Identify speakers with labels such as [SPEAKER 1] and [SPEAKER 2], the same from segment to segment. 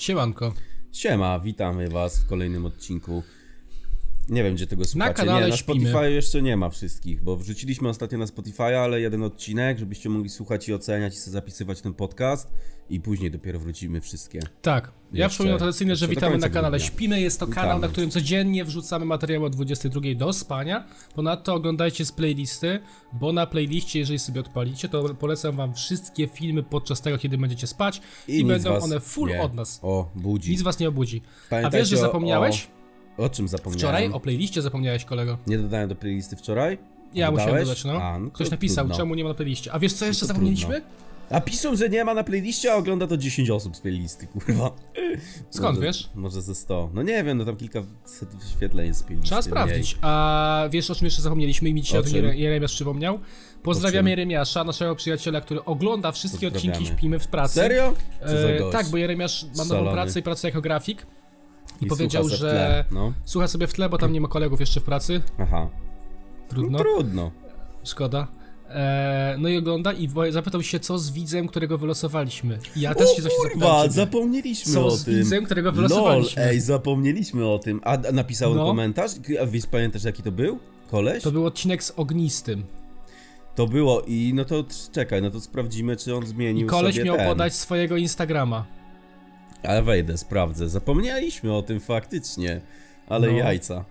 [SPEAKER 1] Siemanko.
[SPEAKER 2] Siema, witamy was w kolejnym odcinku. Nie wiem, gdzie tego słuchacie.
[SPEAKER 1] kanale
[SPEAKER 2] nie, na
[SPEAKER 1] śpimy.
[SPEAKER 2] Spotify jeszcze nie ma wszystkich, bo wrzuciliśmy ostatnio na Spotify, ale jeden odcinek, żebyście mogli słuchać i oceniać i sobie zapisywać ten podcast i później dopiero wrócimy wszystkie.
[SPEAKER 1] Tak, ja
[SPEAKER 2] Jeszcze-
[SPEAKER 1] przypominam tradycyjnie, że
[SPEAKER 2] jeszcze do
[SPEAKER 1] witamy
[SPEAKER 2] końca
[SPEAKER 1] na kanale
[SPEAKER 2] grudnia.
[SPEAKER 1] Śpimy. Jest to kanał, na
[SPEAKER 2] Witamy.
[SPEAKER 1] którym codziennie wrzucamy materiały o 22 do spania. Ponadto oglądajcie z playlisty, bo na playliście, jeżeli sobie odpalicie, to polecam wam wszystkie filmy podczas tego, kiedy będziecie spać i,
[SPEAKER 2] nic
[SPEAKER 1] będą
[SPEAKER 2] was
[SPEAKER 1] one full
[SPEAKER 2] nie-
[SPEAKER 1] od nas.
[SPEAKER 2] O, budzi.
[SPEAKER 1] Nic was nie obudzi.
[SPEAKER 2] Pamiętajcie
[SPEAKER 1] A wiesz, że
[SPEAKER 2] o-
[SPEAKER 1] zapomniałeś?
[SPEAKER 2] O czym zapomniałem?
[SPEAKER 1] Wczoraj o playliście zapomniałeś, kolego.
[SPEAKER 2] Nie dodałem do playlisty wczoraj?
[SPEAKER 1] Ja
[SPEAKER 2] Dodałeś?
[SPEAKER 1] musiałem dodać, no.
[SPEAKER 2] A, no to
[SPEAKER 1] Ktoś napisał,
[SPEAKER 2] trudno. No
[SPEAKER 1] czemu nie ma na playliście. A wiesz, co jeszcze
[SPEAKER 2] to
[SPEAKER 1] zapomnieliśmy?
[SPEAKER 2] A piszą, że nie ma na playliście, a ogląda to 10 osób z playlisty, kurwa.
[SPEAKER 1] Skąd
[SPEAKER 2] może,
[SPEAKER 1] wiesz?
[SPEAKER 2] Może ze 100. No nie wiem, no tam kilka set wyświetleń jest z playlisty.
[SPEAKER 1] Trzeba
[SPEAKER 2] mniej.
[SPEAKER 1] sprawdzić. A wiesz o czym jeszcze zapomnieliśmy i mi dzisiaj
[SPEAKER 2] O
[SPEAKER 1] o tym
[SPEAKER 2] czym?
[SPEAKER 1] Jere- Jeremiasz przypomniał?
[SPEAKER 2] O czym?
[SPEAKER 1] Pozdrawiamy Jeremiasza, naszego przyjaciela, który ogląda wszystkie
[SPEAKER 2] Pozdrawiamy.
[SPEAKER 1] odcinki Śpimy w pracy.
[SPEAKER 2] Serio? Co za
[SPEAKER 1] E,
[SPEAKER 2] gość?
[SPEAKER 1] tak, bo Jeremiasz ma nową
[SPEAKER 2] Szalony.
[SPEAKER 1] pracę i pracuje jako grafik. I,
[SPEAKER 2] I
[SPEAKER 1] powiedział,
[SPEAKER 2] słucha se w
[SPEAKER 1] że
[SPEAKER 2] tle, no.
[SPEAKER 1] słucha sobie w tle, bo tam nie ma kolegów jeszcze w pracy.
[SPEAKER 2] Aha. No
[SPEAKER 1] Trudno,
[SPEAKER 2] Trudno.
[SPEAKER 1] szkoda. E, no i ogląda i wo- zapytał się, co z widzem, którego wylosowaliśmy. I ja też się coś
[SPEAKER 2] kurwa,
[SPEAKER 1] zapytałem. ciebie.
[SPEAKER 2] zapomnieliśmy
[SPEAKER 1] Co
[SPEAKER 2] o
[SPEAKER 1] z
[SPEAKER 2] tym.
[SPEAKER 1] widzem, którego wylosowaliśmy?
[SPEAKER 2] Lol, ej, zapomnieliśmy o tym. A a napisał
[SPEAKER 1] No.
[SPEAKER 2] komentarz? A wiesz, pamiętasz jaki to był? Koleś?
[SPEAKER 1] To
[SPEAKER 2] To,
[SPEAKER 1] był odcinek z ognistym.
[SPEAKER 2] było i no to trz- czekaj, no to sprawdzimy, czy on zmienił
[SPEAKER 1] Koleś
[SPEAKER 2] sobie
[SPEAKER 1] miał
[SPEAKER 2] ten.
[SPEAKER 1] podać swojego Instagrama.
[SPEAKER 2] Ale wejdę, sprawdzę. Zapomnieliśmy o tym faktycznie. Ale
[SPEAKER 1] No.
[SPEAKER 2] jajca.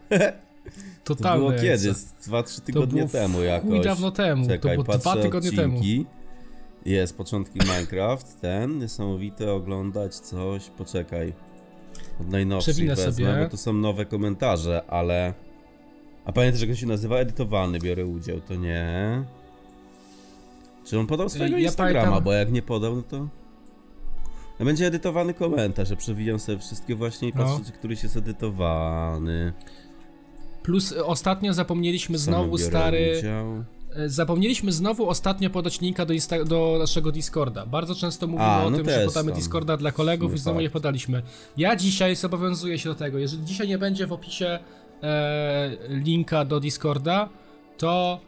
[SPEAKER 2] To
[SPEAKER 1] Totalne.
[SPEAKER 2] było
[SPEAKER 1] jajce.
[SPEAKER 2] kiedy? Z Dwa, trzy tygodnie
[SPEAKER 1] było w
[SPEAKER 2] temu
[SPEAKER 1] chuj
[SPEAKER 2] jakoś.
[SPEAKER 1] dawno temu. To
[SPEAKER 2] Czekaj,
[SPEAKER 1] było dwa
[SPEAKER 2] patrzę
[SPEAKER 1] tygodnie temu.
[SPEAKER 2] odcinki. Jest, początki Minecraft, ten, niesamowite, oglądać coś, poczekaj. Od najnowszych
[SPEAKER 1] Przewinę
[SPEAKER 2] wezmę,
[SPEAKER 1] sobie.
[SPEAKER 2] bo to są nowe komentarze, ale... A pamiętasz jak on się nazywa? Edytowalny, biorę udział, to nie. Czy on podał swojego
[SPEAKER 1] ja
[SPEAKER 2] Instagrama,
[SPEAKER 1] pamiętam-
[SPEAKER 2] bo jak nie podał, no to... No będzie edytowany komentarz, że przewijam sobie wszystkie właśnie i
[SPEAKER 1] No.
[SPEAKER 2] patrzę, czy któryś jest edytowany.
[SPEAKER 1] Plus y, ostatnio zapomnieliśmy
[SPEAKER 2] Same
[SPEAKER 1] znowu
[SPEAKER 2] biorę
[SPEAKER 1] stary.
[SPEAKER 2] Udział.
[SPEAKER 1] y, Zapomnieliśmy znowu ostatnio podać linka do, insta- do naszego Discorda. Bardzo często mówimy
[SPEAKER 2] A,
[SPEAKER 1] o
[SPEAKER 2] no
[SPEAKER 1] tym,
[SPEAKER 2] też
[SPEAKER 1] że podamy
[SPEAKER 2] tam. tak.
[SPEAKER 1] Discorda dla kolegów
[SPEAKER 2] sumie
[SPEAKER 1] i znowu
[SPEAKER 2] fakt.
[SPEAKER 1] nie podaliśmy. Ja dzisiaj zobowiązuję się do tego. Jeżeli dzisiaj nie będzie w opisie e, linka do Discorda, to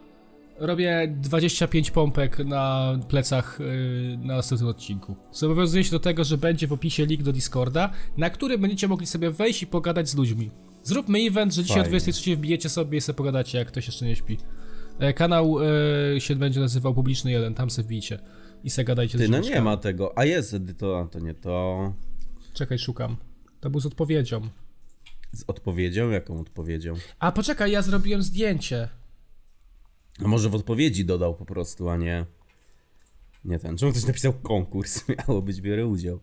[SPEAKER 1] robię 25 pompek na plecach y, na następnym odcinku. Zobowiązuję się do tego, że będzie w opisie link do Discorda, na który będziecie mogli sobie wejść i pogadać z ludźmi. Zróbmy event, że dzisiaj
[SPEAKER 2] Fajnie.
[SPEAKER 1] o 23 wbijecie sobie i sobie pogadacie, jak ktoś jeszcze nie śpi. E, Kanał e, się będzie nazywał Publiczny 1, tam sobie wbijcie i se gadajcie
[SPEAKER 2] Ty,
[SPEAKER 1] z
[SPEAKER 2] no nie
[SPEAKER 1] ziomeczkami.
[SPEAKER 2] ma tego. A jest edyto, a to nie to.
[SPEAKER 1] Czekaj, szukam. To był z odpowiedzią.
[SPEAKER 2] Z odpowiedzią? Jaką odpowiedzią?
[SPEAKER 1] A poczekaj, ja zrobiłem zdjęcie.
[SPEAKER 2] A może w odpowiedzi dodał po prostu, a nie... Nie ten. Czemu ktoś napisał konkurs? Miało być, biorę udział.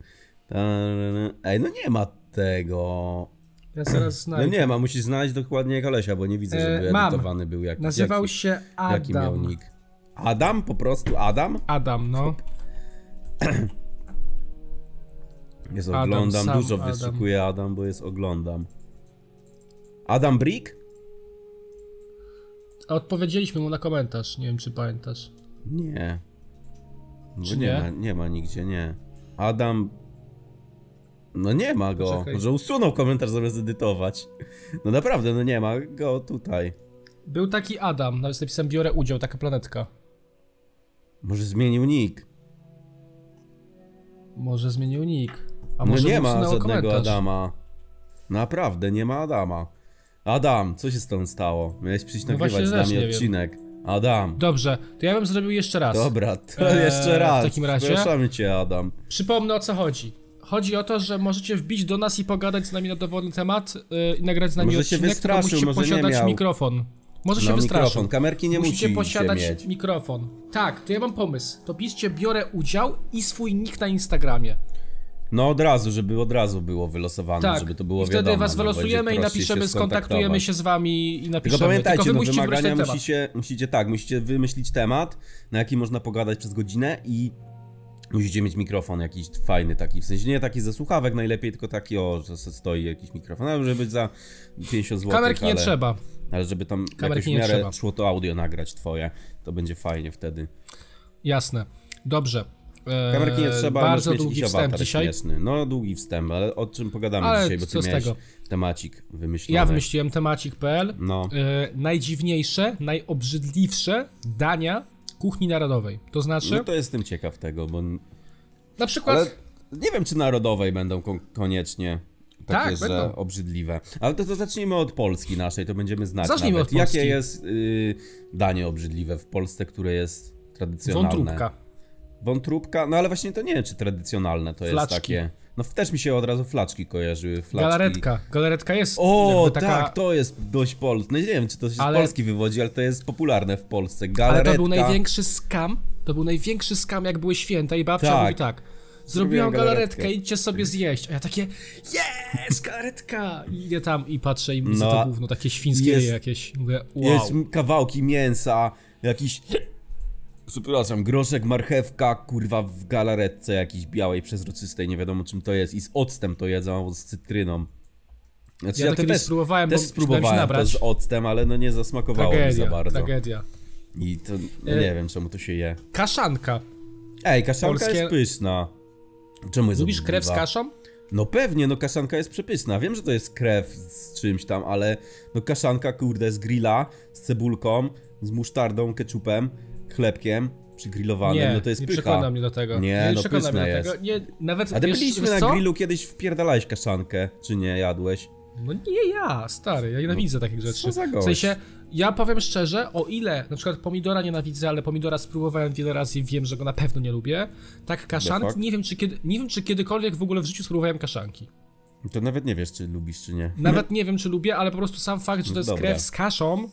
[SPEAKER 2] Ta-ra-ra. Ej, no nie ma tego.
[SPEAKER 1] Ja zaraz
[SPEAKER 2] No
[SPEAKER 1] znajdę.
[SPEAKER 2] nie ma, musisz znaleźć dokładnie kolesia, bo nie widzę,
[SPEAKER 1] E,
[SPEAKER 2] żeby
[SPEAKER 1] mam.
[SPEAKER 2] edytowany był jak,
[SPEAKER 1] Nazywał
[SPEAKER 2] jaki,
[SPEAKER 1] się Adam.
[SPEAKER 2] Jaki miał nick? Adam? Po prostu Adam?
[SPEAKER 1] Adam, no.
[SPEAKER 2] Jest
[SPEAKER 1] Adam,
[SPEAKER 2] oglądam,
[SPEAKER 1] sam
[SPEAKER 2] dużo
[SPEAKER 1] Adam.
[SPEAKER 2] wyszukuję Adam, bo jest oglądam. Adam Brick?
[SPEAKER 1] A Odpowiedzieliśmy mu na komentarz, nie wiem czy pamiętasz.
[SPEAKER 2] Nie. Bo
[SPEAKER 1] Czy
[SPEAKER 2] nie,
[SPEAKER 1] nie?
[SPEAKER 2] Ma, nie ma nigdzie, nie. Adam. No nie ma go.
[SPEAKER 1] Poczekaj.
[SPEAKER 2] Może usunął komentarz zamiast edytować. No naprawdę, no nie ma go tutaj.
[SPEAKER 1] Był taki Adam, nawet z napisem biorę udział, taka planetka.
[SPEAKER 2] Może zmienił nick.
[SPEAKER 1] Może zmienił nick. A
[SPEAKER 2] No
[SPEAKER 1] może
[SPEAKER 2] nie
[SPEAKER 1] mu
[SPEAKER 2] ma
[SPEAKER 1] usunęło
[SPEAKER 2] żadnego
[SPEAKER 1] komentarz.
[SPEAKER 2] Adama. Naprawdę, nie ma Adama. Adam, co się z tym stało? Miałeś przyjść
[SPEAKER 1] No
[SPEAKER 2] nagrywać
[SPEAKER 1] właśnie
[SPEAKER 2] z
[SPEAKER 1] też
[SPEAKER 2] nami
[SPEAKER 1] nie wiem.
[SPEAKER 2] odcinek. Adam.
[SPEAKER 1] Dobrze, to ja bym zrobił jeszcze raz.
[SPEAKER 2] Dobra, to
[SPEAKER 1] Eee,
[SPEAKER 2] jeszcze raz.
[SPEAKER 1] w takim razie-
[SPEAKER 2] Przepraszamy cię, Adam.
[SPEAKER 1] Przypomnę o co chodzi. Chodzi o to, że możecie wbić do nas i pogadać z nami na dowolny temat yy, i nagrać z nami
[SPEAKER 2] Może się
[SPEAKER 1] odcinek, tylko
[SPEAKER 2] wystraszył,
[SPEAKER 1] musicie
[SPEAKER 2] może nie
[SPEAKER 1] posiadać
[SPEAKER 2] miał.
[SPEAKER 1] mikrofon. Może się
[SPEAKER 2] No,
[SPEAKER 1] wystraszył.
[SPEAKER 2] mikrofon, kamerki nie
[SPEAKER 1] Musicie
[SPEAKER 2] musi
[SPEAKER 1] posiadać
[SPEAKER 2] się mieć.
[SPEAKER 1] mikrofon. Tak, to ja mam pomysł. To piszcie biorę udział i swój nick na Instagramie.
[SPEAKER 2] No od razu, żeby od razu było wylosowane,
[SPEAKER 1] Tak.
[SPEAKER 2] żeby to było
[SPEAKER 1] I wtedy
[SPEAKER 2] wiadomo.
[SPEAKER 1] was
[SPEAKER 2] no,
[SPEAKER 1] wylosujemy
[SPEAKER 2] będzie
[SPEAKER 1] i
[SPEAKER 2] prościej
[SPEAKER 1] napiszemy,
[SPEAKER 2] się
[SPEAKER 1] skontaktujemy
[SPEAKER 2] skontaktować.
[SPEAKER 1] się z wami i napiszemy.
[SPEAKER 2] Tylko pamiętajcie,
[SPEAKER 1] wy
[SPEAKER 2] no
[SPEAKER 1] musicie wybrać
[SPEAKER 2] wymagania
[SPEAKER 1] ten temat.
[SPEAKER 2] musicie, musicie, tak, musicie wymyślić temat, na jaki można pogadać przez godzinę i musicie mieć mikrofon jakiś fajny taki, w sensie nie taki ze słuchawek najlepiej, tylko taki o, że se stoi jakiś mikrofon, ale żeby być za 50 zł.
[SPEAKER 1] Kamerki
[SPEAKER 2] ale,
[SPEAKER 1] nie trzeba.
[SPEAKER 2] Ale żeby tam jakoś w
[SPEAKER 1] Kamerki nie
[SPEAKER 2] miarę
[SPEAKER 1] trzeba.
[SPEAKER 2] szło to audio nagrać twoje, to będzie fajnie wtedy.
[SPEAKER 1] Jasne. Dobrze. Eee,
[SPEAKER 2] Kamerki nie trzeba,
[SPEAKER 1] Bardzo
[SPEAKER 2] możesz mieć
[SPEAKER 1] długi
[SPEAKER 2] jakiś
[SPEAKER 1] wstęp
[SPEAKER 2] awatar
[SPEAKER 1] dzisiaj.
[SPEAKER 2] śmieszny. No długi wstęp, ale o czym pogadamy
[SPEAKER 1] Ale
[SPEAKER 2] dzisiaj, bo ty
[SPEAKER 1] co z
[SPEAKER 2] miałeś
[SPEAKER 1] tego?
[SPEAKER 2] temacik wymyślony.
[SPEAKER 1] Ja wymyśliłem temacik.pl.
[SPEAKER 2] No.
[SPEAKER 1] Eee, najdziwniejsze, najobrzydliwsze dania kuchni narodowej. To znaczy,
[SPEAKER 2] No to jestem ciekaw tego, bo.
[SPEAKER 1] na przykład
[SPEAKER 2] No Ale Nie wiem, czy narodowej będą kon- koniecznie takie,
[SPEAKER 1] Tak,
[SPEAKER 2] że
[SPEAKER 1] będą.
[SPEAKER 2] obrzydliwe. Ale to, to zacznijmy od Polski naszej, to będziemy znać
[SPEAKER 1] Zacznijmy
[SPEAKER 2] nawet.
[SPEAKER 1] od Polski.
[SPEAKER 2] Jakie jest y, danie obrzydliwe w Polsce, które jest tradycjonalne?
[SPEAKER 1] Wątróbka.
[SPEAKER 2] Wątróbka, no ale właśnie to nie wiem, czy tradycjonalne to
[SPEAKER 1] Flaczki.
[SPEAKER 2] jest takie. No też mi się od razu flaczki kojarzyły. Flaczki.
[SPEAKER 1] Galaretka. Galaretka jest
[SPEAKER 2] O,
[SPEAKER 1] jakby taka...
[SPEAKER 2] tak, to jest dość polskie. No nie wiem, czy to się
[SPEAKER 1] Ale-
[SPEAKER 2] z Polski wywodzi, ale to jest popularne w Polsce.
[SPEAKER 1] Ale
[SPEAKER 2] Galaretka.
[SPEAKER 1] to był największy skam. To był największy skam, jak były święta i babcia
[SPEAKER 2] Tak.
[SPEAKER 1] mówi tak. Zrobiłam galaretkę,
[SPEAKER 2] galaretkę.
[SPEAKER 1] idźcie sobie zjeść. A ja takie, jest, galaretka! I idę tam i patrzę i widzę
[SPEAKER 2] No,
[SPEAKER 1] to gówno, takie świńskie
[SPEAKER 2] jest-
[SPEAKER 1] jakieś. Mówię, wow.
[SPEAKER 2] Jest m- kawałki mięsa, jakiś. Przepraszam, groszek, marchewka, kurwa w galaretce jakiejś białej, przezroczystej, nie wiadomo czym to jest. I z octem to jedzą, albo z cytryną. Znaczy,
[SPEAKER 1] Ja to
[SPEAKER 2] to
[SPEAKER 1] kiedyś spróbowałem, bo
[SPEAKER 2] też
[SPEAKER 1] chciałem się
[SPEAKER 2] spróbowałem to
[SPEAKER 1] nabrać.
[SPEAKER 2] z octem, ale no nie zasmakowało mi za
[SPEAKER 1] Tragedia, E-
[SPEAKER 2] bardzo.
[SPEAKER 1] tragedia.
[SPEAKER 2] I to, no nie wiem czemu to się je.
[SPEAKER 1] Kaszanka.
[SPEAKER 2] Ej, kaszanka
[SPEAKER 1] Polskie-
[SPEAKER 2] jest pyszna. Czemu jest
[SPEAKER 1] Lubisz krew z
[SPEAKER 2] obrzydliwa?
[SPEAKER 1] kaszą?
[SPEAKER 2] No pewnie, no kaszanka jest przepyszna. Wiem, że to jest krew z czymś tam, ale no kaszanka, kurde, z grilla, z cebulką, z musztardą, ketchupem, chlebkiem przygrillowanym,
[SPEAKER 1] Nie,
[SPEAKER 2] no to jest
[SPEAKER 1] nie
[SPEAKER 2] pycha.
[SPEAKER 1] przekona mnie do tego.
[SPEAKER 2] Nie,
[SPEAKER 1] nie
[SPEAKER 2] no
[SPEAKER 1] przekona mnie
[SPEAKER 2] pyszne
[SPEAKER 1] do tego.
[SPEAKER 2] jest.
[SPEAKER 1] Nie, nawet
[SPEAKER 2] A ty
[SPEAKER 1] wiesz- wiesz
[SPEAKER 2] byliśmy na
[SPEAKER 1] co?
[SPEAKER 2] grillu kiedyś, wpierdalałeś kaszankę, czy nie, jadłeś?
[SPEAKER 1] No nie ja, stary, ja nienawidzę takich rzeczy.
[SPEAKER 2] No, za
[SPEAKER 1] w
[SPEAKER 2] gość?
[SPEAKER 1] sensie, ja powiem szczerze, o ile na przykład pomidora nienawidzę, ale pomidora spróbowałem wiele razy i wiem, że go na pewno nie lubię, tak
[SPEAKER 2] fuck?
[SPEAKER 1] kaszanki, nie wiem, czy kiedy, nie wiem czy kiedykolwiek w ogóle w życiu spróbowałem kaszanki.
[SPEAKER 2] To nawet nie wiesz, czy lubisz, czy nie.
[SPEAKER 1] Nawet nie wiem, czy lubię, ale po prostu sam fakt, że to jest
[SPEAKER 2] Dobra.
[SPEAKER 1] krew z kaszą,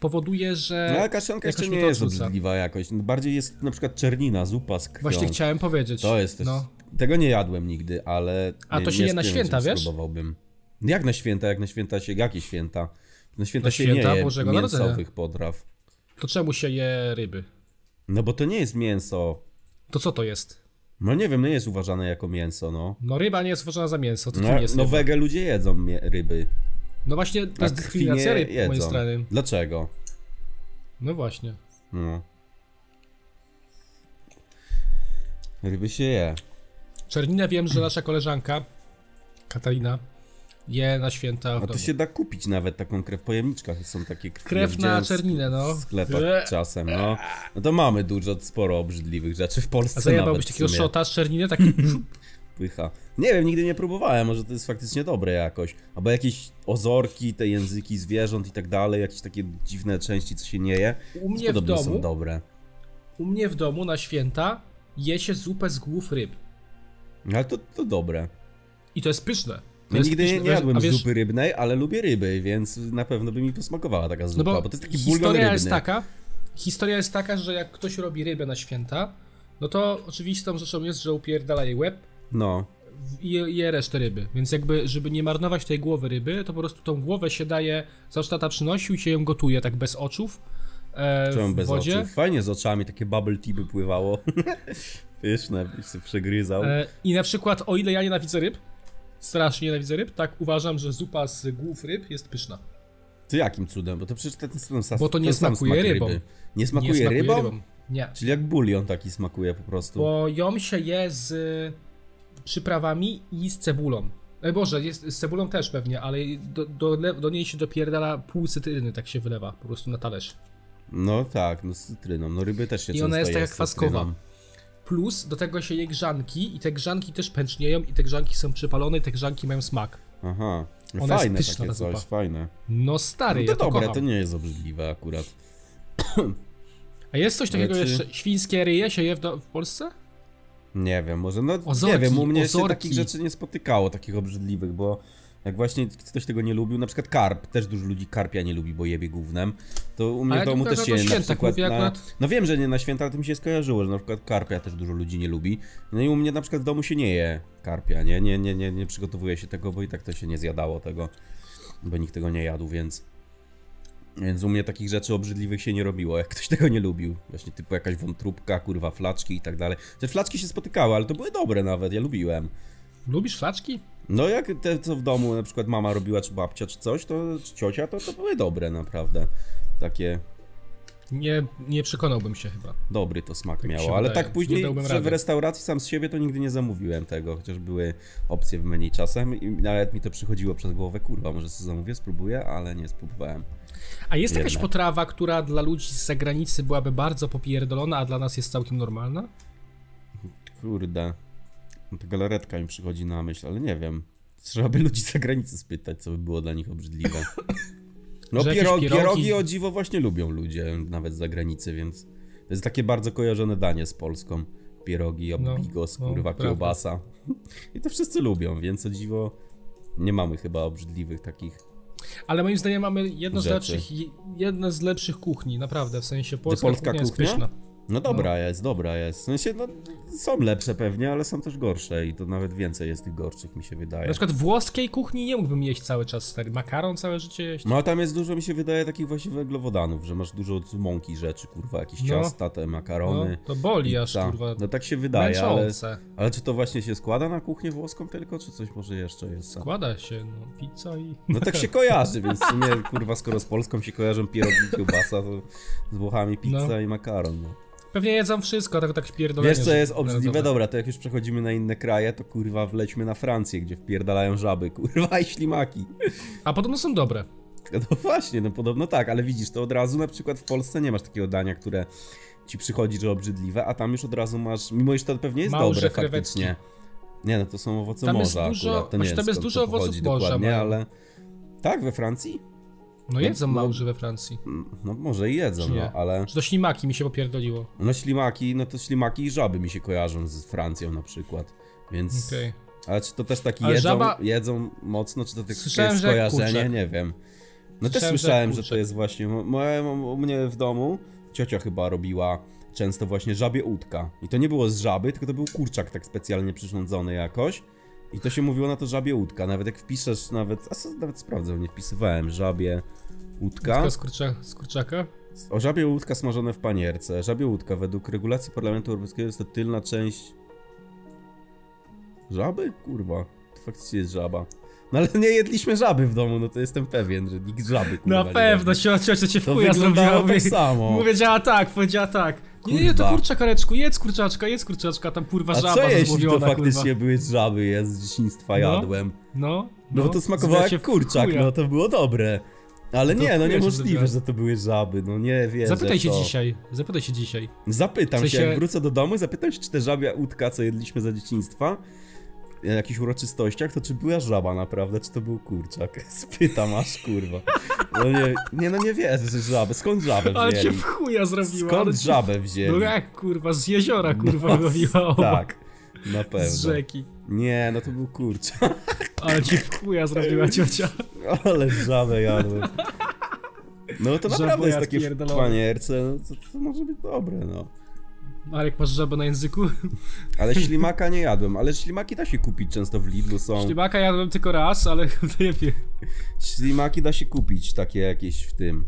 [SPEAKER 1] powoduje, że
[SPEAKER 2] No ale kaszanka
[SPEAKER 1] jakoś
[SPEAKER 2] jeszcze
[SPEAKER 1] mi
[SPEAKER 2] nie
[SPEAKER 1] to
[SPEAKER 2] jest
[SPEAKER 1] odrzuca.
[SPEAKER 2] obrzydliwa jakoś. No, Bardziej jest na przykład czernina, zupa z krwią.
[SPEAKER 1] Właśnie chciałem powiedzieć.
[SPEAKER 2] To jest też...
[SPEAKER 1] No.
[SPEAKER 2] Tego nie jadłem nigdy, ale...
[SPEAKER 1] A
[SPEAKER 2] nie-
[SPEAKER 1] to się
[SPEAKER 2] nie
[SPEAKER 1] je na
[SPEAKER 2] wiem,
[SPEAKER 1] święta,
[SPEAKER 2] czy
[SPEAKER 1] wiesz?
[SPEAKER 2] Spróbowałbym. Jak na święta, jak na święta się... Jakie święta? Na święta
[SPEAKER 1] Na
[SPEAKER 2] się
[SPEAKER 1] święta
[SPEAKER 2] nie je
[SPEAKER 1] Bożego Narodzenia.
[SPEAKER 2] mięsowych potraw.
[SPEAKER 1] To czemu się je ryby?
[SPEAKER 2] No bo to nie jest mięso.
[SPEAKER 1] To co to jest?
[SPEAKER 2] No nie wiem, nie jest uważane jako mięso, no.
[SPEAKER 1] No ryba nie jest uważana za mięso, to
[SPEAKER 2] No,
[SPEAKER 1] czym jest
[SPEAKER 2] no
[SPEAKER 1] ryba?
[SPEAKER 2] wege ludzie jedzą mie- ryby.
[SPEAKER 1] No właśnie, to
[SPEAKER 2] a
[SPEAKER 1] jest
[SPEAKER 2] krwi nie
[SPEAKER 1] dyskryminacja ryb z mojej
[SPEAKER 2] tak, jedzą.
[SPEAKER 1] strony.
[SPEAKER 2] Dlaczego?
[SPEAKER 1] No właśnie.
[SPEAKER 2] No. Ryby się je.
[SPEAKER 1] Czerninę wiem, że nasza koleżanka Katarina je na święta
[SPEAKER 2] A
[SPEAKER 1] w
[SPEAKER 2] to
[SPEAKER 1] domu.
[SPEAKER 2] się da kupić nawet taką krew w pojemniczkach. Są takie krwi.
[SPEAKER 1] Krew
[SPEAKER 2] ja widziałem
[SPEAKER 1] na czerninę, no.
[SPEAKER 2] W sklepach
[SPEAKER 1] Eee.
[SPEAKER 2] czasem, no. No to mamy dużo, sporo obrzydliwych rzeczy w Polsce
[SPEAKER 1] A zajebałbyś
[SPEAKER 2] nawet w
[SPEAKER 1] takiego
[SPEAKER 2] sumie.
[SPEAKER 1] szota z czerniny, taki
[SPEAKER 2] Pycha. Nie wiem, nigdy nie próbowałem, może to jest faktycznie dobre jakoś. Albo jakieś ozorki, te języki zwierząt i tak dalej, jakieś takie dziwne części, co się nie je.
[SPEAKER 1] u mnie w
[SPEAKER 2] Podobno są
[SPEAKER 1] domu,
[SPEAKER 2] dobre.
[SPEAKER 1] u mnie w domu na święta je się zupę z głów ryb.
[SPEAKER 2] No, Ale to, to dobre.
[SPEAKER 1] I to jest pyszne. To
[SPEAKER 2] Ja
[SPEAKER 1] jest
[SPEAKER 2] nigdy nie,
[SPEAKER 1] pyszne,
[SPEAKER 2] nie
[SPEAKER 1] wiesz-
[SPEAKER 2] jadłem
[SPEAKER 1] a wiesz,
[SPEAKER 2] zupy rybnej, ale lubię ryby, więc na pewno by mi posmakowała taka zupa,
[SPEAKER 1] No
[SPEAKER 2] bo,
[SPEAKER 1] bo,
[SPEAKER 2] to jest taki
[SPEAKER 1] historia
[SPEAKER 2] bulgon rybny.
[SPEAKER 1] jest taka, historia jest taka, że jak ktoś robi rybę na święta, no to oczywistą rzeczą jest, że upierdala jej łeb
[SPEAKER 2] No.
[SPEAKER 1] i je, je resztę ryby. Więc jakby, żeby nie marnować tej głowy ryby, to po prostu tą głowę się daje, zawsze tata przynosił i się ją gotuje, tak bez oczów. E,
[SPEAKER 2] Czemu
[SPEAKER 1] w
[SPEAKER 2] bez
[SPEAKER 1] wodzie.
[SPEAKER 2] oczu? Fajnie z oczami, takie bubble tea by pływało. Pyszne, byś się przegryzał.
[SPEAKER 1] E, I na przykład, o ile ja nienawidzę ryb, strasznie nienawidzę ryb, tak uważam, że zupa z głów ryb jest pyszna.
[SPEAKER 2] To jakim cudem? Bo to przecież ten, ten sam
[SPEAKER 1] Bo to nie
[SPEAKER 2] ten sam
[SPEAKER 1] smakuje
[SPEAKER 2] smak
[SPEAKER 1] rybą.
[SPEAKER 2] Ryby. Nie smakuje,
[SPEAKER 1] nie smakuje
[SPEAKER 2] rybą?
[SPEAKER 1] Nie.
[SPEAKER 2] Czyli jak bulion taki smakuje po prostu.
[SPEAKER 1] Bo ją się je z y, przyprawami i z cebulą. E, Boże, jest, z cebulą też pewnie, ale do, do, do niej się dopierdala pół cytryny, tak się wylewa po prostu na talerz.
[SPEAKER 2] No tak, no z cytryną. No ryby też się
[SPEAKER 1] I ona
[SPEAKER 2] często
[SPEAKER 1] jest tak
[SPEAKER 2] je
[SPEAKER 1] taka
[SPEAKER 2] z
[SPEAKER 1] kwaskowa.
[SPEAKER 2] cytryną.
[SPEAKER 1] Plus do tego się je grzanki i te grzanki też pęcznieją i te grzanki są przypalone i te grzanki mają smak.
[SPEAKER 2] Aha.
[SPEAKER 1] Ona jest
[SPEAKER 2] fajne
[SPEAKER 1] pyszna,
[SPEAKER 2] takie
[SPEAKER 1] ta
[SPEAKER 2] coś,
[SPEAKER 1] zupa.
[SPEAKER 2] fajne.
[SPEAKER 1] No stary,
[SPEAKER 2] No to
[SPEAKER 1] ja to
[SPEAKER 2] dobre,
[SPEAKER 1] kocham.
[SPEAKER 2] to nie jest obrzydliwe akurat.
[SPEAKER 1] A jest coś takiego
[SPEAKER 2] Rzeczy-
[SPEAKER 1] jeszcze, świńskie ryje się je w, do, w Polsce?
[SPEAKER 2] Nie wiem, może no nie
[SPEAKER 1] Ozorki,
[SPEAKER 2] wiem, u mnie się
[SPEAKER 1] ozorki.
[SPEAKER 2] takich rzeczy nie spotykało, takich obrzydliwych, bo jak właśnie ktoś tego nie lubił, na przykład karp, też dużo ludzi karpia nie lubi, bo jebie gównem, to u mnie
[SPEAKER 1] Ale
[SPEAKER 2] w
[SPEAKER 1] to
[SPEAKER 2] domu
[SPEAKER 1] akurat
[SPEAKER 2] też
[SPEAKER 1] na
[SPEAKER 2] się na
[SPEAKER 1] świętach
[SPEAKER 2] przykład,
[SPEAKER 1] mówię
[SPEAKER 2] na,
[SPEAKER 1] akurat.
[SPEAKER 2] no wiem, że nie na święta, ale to mi się skojarzyło, że na przykład karpia też dużo ludzi nie lubi, no i u mnie na przykład w domu się nie je karpia, nie, nie, nie, nie, nie przygotowuje się tego, bo i tak to się nie zjadało tego, bo nikt tego nie jadł, więc... Więc u mnie takich rzeczy obrzydliwych się nie robiło, jak ktoś tego nie lubił. Właśnie typu jakaś wątróbka, kurwa, flaczki i tak dalej. Te flaczki się spotykały, ale to były dobre nawet, ja lubiłem.
[SPEAKER 1] Lubisz flaczki?
[SPEAKER 2] No jak te, co w domu na przykład mama robiła, czy babcia, czy coś, to, czy ciocia, to, to były dobre naprawdę. Takie,
[SPEAKER 1] Nie, nie przekonałbym się chyba.
[SPEAKER 2] dobry to smak
[SPEAKER 1] Tak mi się
[SPEAKER 2] miało. Ale
[SPEAKER 1] wydaje.
[SPEAKER 2] tak
[SPEAKER 1] Nie
[SPEAKER 2] później,
[SPEAKER 1] dałbym
[SPEAKER 2] że w
[SPEAKER 1] rady.
[SPEAKER 2] restauracji sam z siebie to nigdy nie zamówiłem tego, chociaż były opcje w menu czasem i nawet mi to przychodziło przez głowę, kurwa, może sobie zamówię, spróbuję, ale nie spróbowałem.
[SPEAKER 1] A jest jakaś
[SPEAKER 2] Jednak.
[SPEAKER 1] potrawa, która dla ludzi z zagranicy byłaby bardzo popierdolona, a dla nas jest całkiem normalna?
[SPEAKER 2] Kurde. No Ta galaretka mi przychodzi na myśl, ale nie wiem. Trzeba by ludzi z zagranicy spytać, co by było dla nich obrzydliwe. No
[SPEAKER 1] Że jakieś
[SPEAKER 2] pierogi,
[SPEAKER 1] pierogi-
[SPEAKER 2] pierogi o dziwo właśnie lubią ludzie, nawet z zagranicy, więc to jest takie bardzo kojarzone danie z Polską. Pierogi,
[SPEAKER 1] No,
[SPEAKER 2] obigos,
[SPEAKER 1] no,
[SPEAKER 2] kurwa,
[SPEAKER 1] prawda.
[SPEAKER 2] kiełbasa. I to wszyscy lubią, więc o dziwo nie mamy chyba obrzydliwych takich.
[SPEAKER 1] Ale moim zdaniem mamy jedno z
[SPEAKER 2] Rzeczy.
[SPEAKER 1] lepszych, jedne z lepszych kuchni, naprawdę, w sensie polska,
[SPEAKER 2] polska
[SPEAKER 1] kuchnia,
[SPEAKER 2] kuchnia?
[SPEAKER 1] jest pyszna.
[SPEAKER 2] No dobra jest, dobra jest. W sensie, no, są lepsze pewnie, ale są też gorsze i to nawet więcej jest tych gorszych, mi się wydaje.
[SPEAKER 1] Na przykład włoskiej kuchni nie mógłbym jeść cały czas, stary. Makaron całe życie jeść.
[SPEAKER 2] No a tam jest dużo, mi się wydaje, takich właśnie węglowodanów, że masz dużo od mąki rzeczy, kurwa, jakieś
[SPEAKER 1] No.
[SPEAKER 2] ciasta, te
[SPEAKER 1] No,
[SPEAKER 2] makarony.
[SPEAKER 1] to boli aż,
[SPEAKER 2] pizza.
[SPEAKER 1] kurwa.
[SPEAKER 2] No tak się wydaje, ale,
[SPEAKER 1] Męczące.
[SPEAKER 2] ale czy to właśnie się składa na kuchnię włoską tylko, czy coś może jeszcze jest?
[SPEAKER 1] Składa się, no, pizza i...
[SPEAKER 2] No tak się kojarzy, więc w sumie, kurwa, skoro z Polską się kojarzą pierogi i kiełbasa, to z Włochami pizza
[SPEAKER 1] No.
[SPEAKER 2] i makaron. No.
[SPEAKER 1] Pewnie jedzą wszystko, tak, tak pierdolenie.
[SPEAKER 2] Wiesz co
[SPEAKER 1] że-
[SPEAKER 2] jest obrzydliwe?
[SPEAKER 1] narodowe.
[SPEAKER 2] Dobra, to jak już przechodzimy na inne kraje, to kurwa wlećmy na Francję, gdzie wpierdalają żaby, kurwa i ślimaki.
[SPEAKER 1] A podobno są dobre.
[SPEAKER 2] No właśnie, no podobno tak, ale widzisz, to od razu na przykład w Polsce nie masz takiego dania, które ci przychodzi, że obrzydliwe, a tam już od razu masz, mimo że to pewnie jest
[SPEAKER 1] Małże
[SPEAKER 2] dobre
[SPEAKER 1] krewetki.
[SPEAKER 2] faktycznie. Nie, no to są owoce
[SPEAKER 1] Tam jest
[SPEAKER 2] morza
[SPEAKER 1] dużo-
[SPEAKER 2] akurat, to nie
[SPEAKER 1] znaczy,
[SPEAKER 2] wiem,
[SPEAKER 1] tam jest
[SPEAKER 2] skąd
[SPEAKER 1] dużo
[SPEAKER 2] to
[SPEAKER 1] owoców
[SPEAKER 2] pochodzi
[SPEAKER 1] morza
[SPEAKER 2] dokładnie,
[SPEAKER 1] mają.
[SPEAKER 2] ale... Tak, we Francji?
[SPEAKER 1] No jedzą
[SPEAKER 2] no-
[SPEAKER 1] małże we Francji.
[SPEAKER 2] Mm, No może i jedzą,
[SPEAKER 1] Czy
[SPEAKER 2] no,
[SPEAKER 1] nie?
[SPEAKER 2] ale...
[SPEAKER 1] Czy to ślimaki mi się popierdoliło?
[SPEAKER 2] No ślimaki, no to ślimaki i żaby mi się kojarzą z Francją na przykład, więc...
[SPEAKER 1] Okej.
[SPEAKER 2] A czy to też taki
[SPEAKER 1] Ale
[SPEAKER 2] jedzą,
[SPEAKER 1] żaba-
[SPEAKER 2] jedzą mocno, czy to tylko
[SPEAKER 1] Słyszałem,
[SPEAKER 2] jest
[SPEAKER 1] że jak
[SPEAKER 2] skojarzenie,
[SPEAKER 1] kurczak.
[SPEAKER 2] nie wiem. No też
[SPEAKER 1] Słyszałem, że
[SPEAKER 2] słyszałem,
[SPEAKER 1] jak
[SPEAKER 2] że, to
[SPEAKER 1] kurczak.
[SPEAKER 2] jest właśnie, mo- moja, mo- u mnie w domu ciocia chyba robiła często właśnie żabie łódka. I to nie było z żaby, tylko to był kurczak tak specjalnie przyrządzony jakoś. I to się mówiło na to żabie łódka, nawet jak wpiszesz nawet, a co, nawet sprawdzę, nie wpisywałem, żabie łódka.
[SPEAKER 1] Tylko z, kurcza, z kurczaka?
[SPEAKER 2] O żabie łódka smażone w panierce. Żabie łódka według regulacji Parlamentu Europejskiego jest to tylna część. Żaby? Kurwa. To faktycznie jest żaba. No ale nie jedliśmy żaby w domu, no to jestem pewien, że nikt żaby kurwa
[SPEAKER 1] Na
[SPEAKER 2] nie
[SPEAKER 1] pewno,
[SPEAKER 2] robi.
[SPEAKER 1] się ciocia cię w
[SPEAKER 2] To
[SPEAKER 1] chuja zrobiła.
[SPEAKER 2] wyglądało tak
[SPEAKER 1] mówię-
[SPEAKER 2] samo.
[SPEAKER 1] Powiedziała tak, powiedziała tak. Nie, nie, to
[SPEAKER 2] Kurwa.
[SPEAKER 1] kurczakareczku, jedz kurczaczka, jedz kurczaczka, tam kurwa
[SPEAKER 2] A
[SPEAKER 1] żaba
[SPEAKER 2] co jeśli to
[SPEAKER 1] złowiona,
[SPEAKER 2] faktycznie
[SPEAKER 1] kurwa.
[SPEAKER 2] były żaby, ja z dzieciństwa
[SPEAKER 1] No.
[SPEAKER 2] jadłem?
[SPEAKER 1] No,
[SPEAKER 2] No, to smakowało
[SPEAKER 1] zlecia
[SPEAKER 2] jak
[SPEAKER 1] w
[SPEAKER 2] kurczak,
[SPEAKER 1] chuja.
[SPEAKER 2] no to było dobre. Ale
[SPEAKER 1] Do
[SPEAKER 2] nie, no
[SPEAKER 1] chuja się
[SPEAKER 2] niemożliwe,
[SPEAKER 1] zrobiło.
[SPEAKER 2] że to były żaby, no nie wiem.
[SPEAKER 1] Zapytaj
[SPEAKER 2] że
[SPEAKER 1] się
[SPEAKER 2] to...
[SPEAKER 1] dzisiaj, zapytaj się dzisiaj.
[SPEAKER 2] Zapytam
[SPEAKER 1] W sensie-
[SPEAKER 2] się, jak wrócę do domu, zapytam się, czy te żabia łódka, co jedliśmy za dzieciństwa, na jakichś uroczystościach, to czy była żaba naprawdę, czy to był kurczak? Spytam aż, kurwa. No nie, nie no nie wierzę, że żabę, skąd żabę
[SPEAKER 1] Ale cię
[SPEAKER 2] wzięli?
[SPEAKER 1] w chuja zrobiła. ale
[SPEAKER 2] Skąd
[SPEAKER 1] cię-
[SPEAKER 2] żabę
[SPEAKER 1] No
[SPEAKER 2] wzięli?
[SPEAKER 1] jak kurwa, z jeziora kurwa
[SPEAKER 2] No,
[SPEAKER 1] wyłowiła obok,
[SPEAKER 2] Tak, na
[SPEAKER 1] z
[SPEAKER 2] pewno.
[SPEAKER 1] rzeki.
[SPEAKER 2] Nie, no to był kurczak,
[SPEAKER 1] Ale ci w chuja zrobiła ciocia.
[SPEAKER 2] ale żabę jadłem. No
[SPEAKER 1] Żabo
[SPEAKER 2] to naprawdę jest
[SPEAKER 1] jad
[SPEAKER 2] takie w
[SPEAKER 1] pierdolony.
[SPEAKER 2] panierce, no to, to może być dobre, no.
[SPEAKER 1] Marek, masz żabę na języku?
[SPEAKER 2] Ale ślimaka nie jadłem, ale ślimaki da się kupić często w Lidlu, są...
[SPEAKER 1] Ślimaka jadłem tylko raz, ale nie wiem.
[SPEAKER 2] Ślimaki da się kupić, takie jakieś w tym.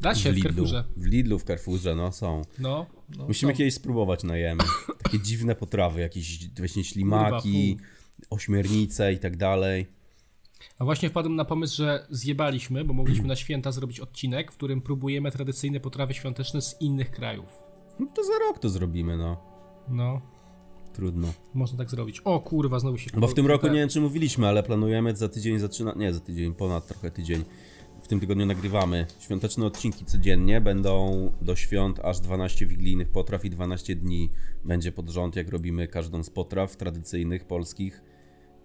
[SPEAKER 1] Da się
[SPEAKER 2] w
[SPEAKER 1] w
[SPEAKER 2] Lidlu.
[SPEAKER 1] Carrefourze.
[SPEAKER 2] W Lidlu, w Carrefourze, no są.
[SPEAKER 1] No, no.
[SPEAKER 2] Musimy
[SPEAKER 1] są.
[SPEAKER 2] kiedyś spróbować na jemy. Takie dziwne potrawy, jakieś właśnie ślimaki, ośmiernice i tak dalej.
[SPEAKER 1] A właśnie wpadłem na pomysł, że zjebaliśmy, bo mogliśmy na święta zrobić odcinek, w którym próbujemy tradycyjne potrawy świąteczne z innych krajów.
[SPEAKER 2] No to za rok to zrobimy, no.
[SPEAKER 1] No,
[SPEAKER 2] Trudno.
[SPEAKER 1] można tak zrobić. O kurwa, znowu się...
[SPEAKER 2] Bo w tym roku nie wiem, czy mówiliśmy, ale planujemy za tydzień zaczyna. Nie, za tydzień, ponad trochę tydzień. W tym tygodniu nagrywamy. Świąteczne odcinki codziennie będą do świąt aż 12 wigilijnych potraw i 12 dni będzie pod rząd, jak robimy każdą z potraw tradycyjnych polskich.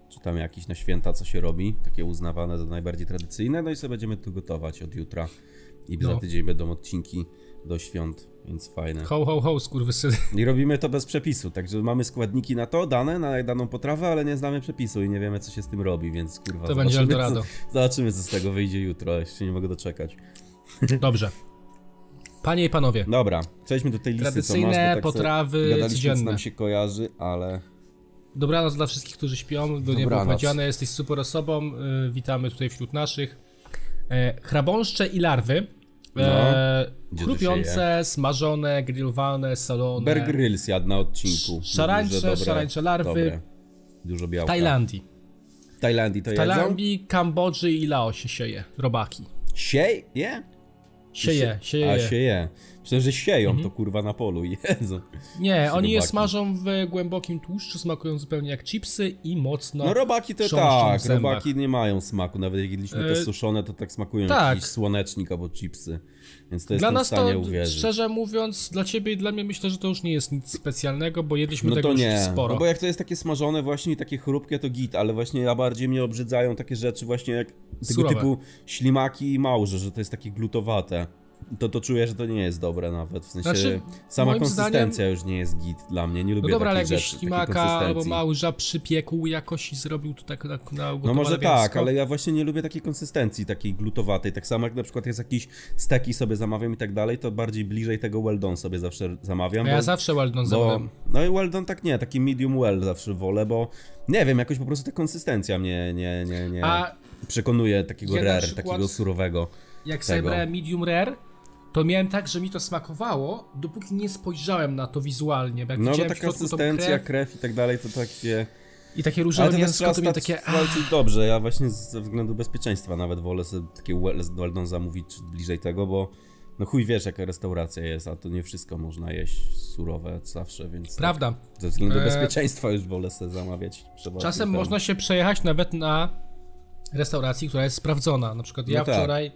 [SPEAKER 2] Czy tam jakieś na święta, co się robi, takie uznawane za najbardziej tradycyjne. No i sobie będziemy tu gotować od jutra. I za
[SPEAKER 1] No.
[SPEAKER 2] tydzień będą odcinki do świąt, więc fajne.
[SPEAKER 1] Ho, ho, ho, skurwysyn.
[SPEAKER 2] I robimy to bez przepisu, także mamy składniki na to, dane, na daną potrawę, ale nie znamy przepisu i nie wiemy, co się z tym robi, więc kurwa.
[SPEAKER 1] To będzie
[SPEAKER 2] zobaczymy,
[SPEAKER 1] Eldorado.
[SPEAKER 2] Co, zobaczymy, co z tego wyjdzie jutro, jeszcze nie mogę doczekać.
[SPEAKER 1] Dobrze. Panie i panowie,
[SPEAKER 2] Dobra, przejdźmy do tej listy,
[SPEAKER 1] Tradycyjne
[SPEAKER 2] co masz, bo tak
[SPEAKER 1] potrawy
[SPEAKER 2] sobie gadaliśmy, co
[SPEAKER 1] codzienne.
[SPEAKER 2] nam się kojarzy, ale...
[SPEAKER 1] dobranoc dla wszystkich, którzy śpią, do nieba
[SPEAKER 2] Dobranoc.
[SPEAKER 1] powiedziane, jesteś super osobą, y, witamy tutaj wśród naszych. E, chrabąszcze i larwy, e,
[SPEAKER 2] Gdzie to się
[SPEAKER 1] chrupiące, smażone, grillowane, salone,
[SPEAKER 2] Bear Grylls jadł na odcinku. Mówił, że
[SPEAKER 1] Szarańcze, szarańcze larwy.
[SPEAKER 2] Dobre. Dużo białka.
[SPEAKER 1] w Tajlandii.
[SPEAKER 2] W Tajlandii to
[SPEAKER 1] W
[SPEAKER 2] jedzą?
[SPEAKER 1] Tajlandii, Kambodży i Laosie sieje robaki.
[SPEAKER 2] Siej? Nie?
[SPEAKER 1] Sieje, sieje. Mhm.
[SPEAKER 2] A
[SPEAKER 1] je.
[SPEAKER 2] sieje. Myślę, że sieją to kurwa na polu i jedzą.
[SPEAKER 1] Nie, oni je
[SPEAKER 2] robaki.
[SPEAKER 1] smażą w głębokim tłuszczu, smakują zupełnie jak chipsy i mocno.
[SPEAKER 2] No robaki to
[SPEAKER 1] Trząszczą Tak. w
[SPEAKER 2] tak,
[SPEAKER 1] zębach.
[SPEAKER 2] robaki nie mają smaku, nawet jak jedliśmy te
[SPEAKER 1] E,
[SPEAKER 2] suszone, to tak smakują
[SPEAKER 1] tak.
[SPEAKER 2] jak jakiś słonecznik albo chipsy. Więc to
[SPEAKER 1] Dla
[SPEAKER 2] jestem w
[SPEAKER 1] nas
[SPEAKER 2] stanie
[SPEAKER 1] to,
[SPEAKER 2] uwierzyć.
[SPEAKER 1] szczerze mówiąc, dla ciebie i dla mnie myślę, że to już nie jest nic specjalnego, bo jedliśmy
[SPEAKER 2] No
[SPEAKER 1] tego
[SPEAKER 2] to
[SPEAKER 1] już
[SPEAKER 2] nie,
[SPEAKER 1] sporo.
[SPEAKER 2] no bo jak to jest takie smażone właśnie i takie chrupkie to git, ale właśnie ja bardziej mnie obrzydzają takie rzeczy właśnie jak tego
[SPEAKER 1] Surowe.
[SPEAKER 2] typu ślimaki i małże, że to jest takie glutowate. To to czuję, że to nie jest dobre nawet, w sensie
[SPEAKER 1] Znaczy,
[SPEAKER 2] sama
[SPEAKER 1] moim
[SPEAKER 2] konsystencja
[SPEAKER 1] zdaniem-
[SPEAKER 2] już nie jest git dla mnie, nie
[SPEAKER 1] No
[SPEAKER 2] lubię
[SPEAKER 1] dobra, ale
[SPEAKER 2] takich
[SPEAKER 1] jakbyś
[SPEAKER 2] rzeczy, takiej
[SPEAKER 1] ślimaka albo
[SPEAKER 2] konsystencji.
[SPEAKER 1] małża przypiekł jakoś i zrobił to tak na, na
[SPEAKER 2] No
[SPEAKER 1] ugotowane
[SPEAKER 2] może tak,
[SPEAKER 1] mięsko.
[SPEAKER 2] ale ja właśnie nie lubię takiej konsystencji, takiej glutowatej. Tak samo jak na przykład jest jakiś steki sobie zamawiam i tak dalej, to bardziej bliżej tego well done sobie zawsze zamawiam.
[SPEAKER 1] A No ja
[SPEAKER 2] bo-
[SPEAKER 1] zawsze Waldon
[SPEAKER 2] bo,
[SPEAKER 1] zamawiam.
[SPEAKER 2] no i well done tak nie, taki medium well zawsze wolę, bo nie wiem, jakoś po prostu ta konsystencja mnie nie, nie, nie
[SPEAKER 1] A
[SPEAKER 2] przekonuje takiego
[SPEAKER 1] ja na
[SPEAKER 2] rare,
[SPEAKER 1] przykład-
[SPEAKER 2] takiego surowego.
[SPEAKER 1] jak sobie
[SPEAKER 2] tego.
[SPEAKER 1] brałem medium rare, to miałem tak, że mi to smakowało, dopóki nie spojrzałem na to wizualnie. Bo jak
[SPEAKER 2] No bo
[SPEAKER 1] widziałem
[SPEAKER 2] ta
[SPEAKER 1] w środku tą
[SPEAKER 2] konsystencja,
[SPEAKER 1] krew
[SPEAKER 2] krew. i tak dalej, to takie...
[SPEAKER 1] i takie
[SPEAKER 2] Ale
[SPEAKER 1] różowe
[SPEAKER 2] to też
[SPEAKER 1] mięsko,
[SPEAKER 2] trzeba
[SPEAKER 1] to miałem
[SPEAKER 2] stać
[SPEAKER 1] takie... "Ah".
[SPEAKER 2] takie...
[SPEAKER 1] A,
[SPEAKER 2] dobrze, ja właśnie ze względu bezpieczeństwa nawet wolę sobie takie well- z Weldon zamówić czy bliżej tego, bo no chuj wiesz jaka restauracja jest, a to nie wszystko można jeść surowe zawsze, więc tak,
[SPEAKER 1] prawda.
[SPEAKER 2] ze względu
[SPEAKER 1] Eee.
[SPEAKER 2] bezpieczeństwa już wolę sobie zamawiać. przeważnie
[SPEAKER 1] Czasem
[SPEAKER 2] ten.
[SPEAKER 1] można się przejechać nawet na restauracji, która jest sprawdzona. Na przykład ja
[SPEAKER 2] No tak.
[SPEAKER 1] wczoraj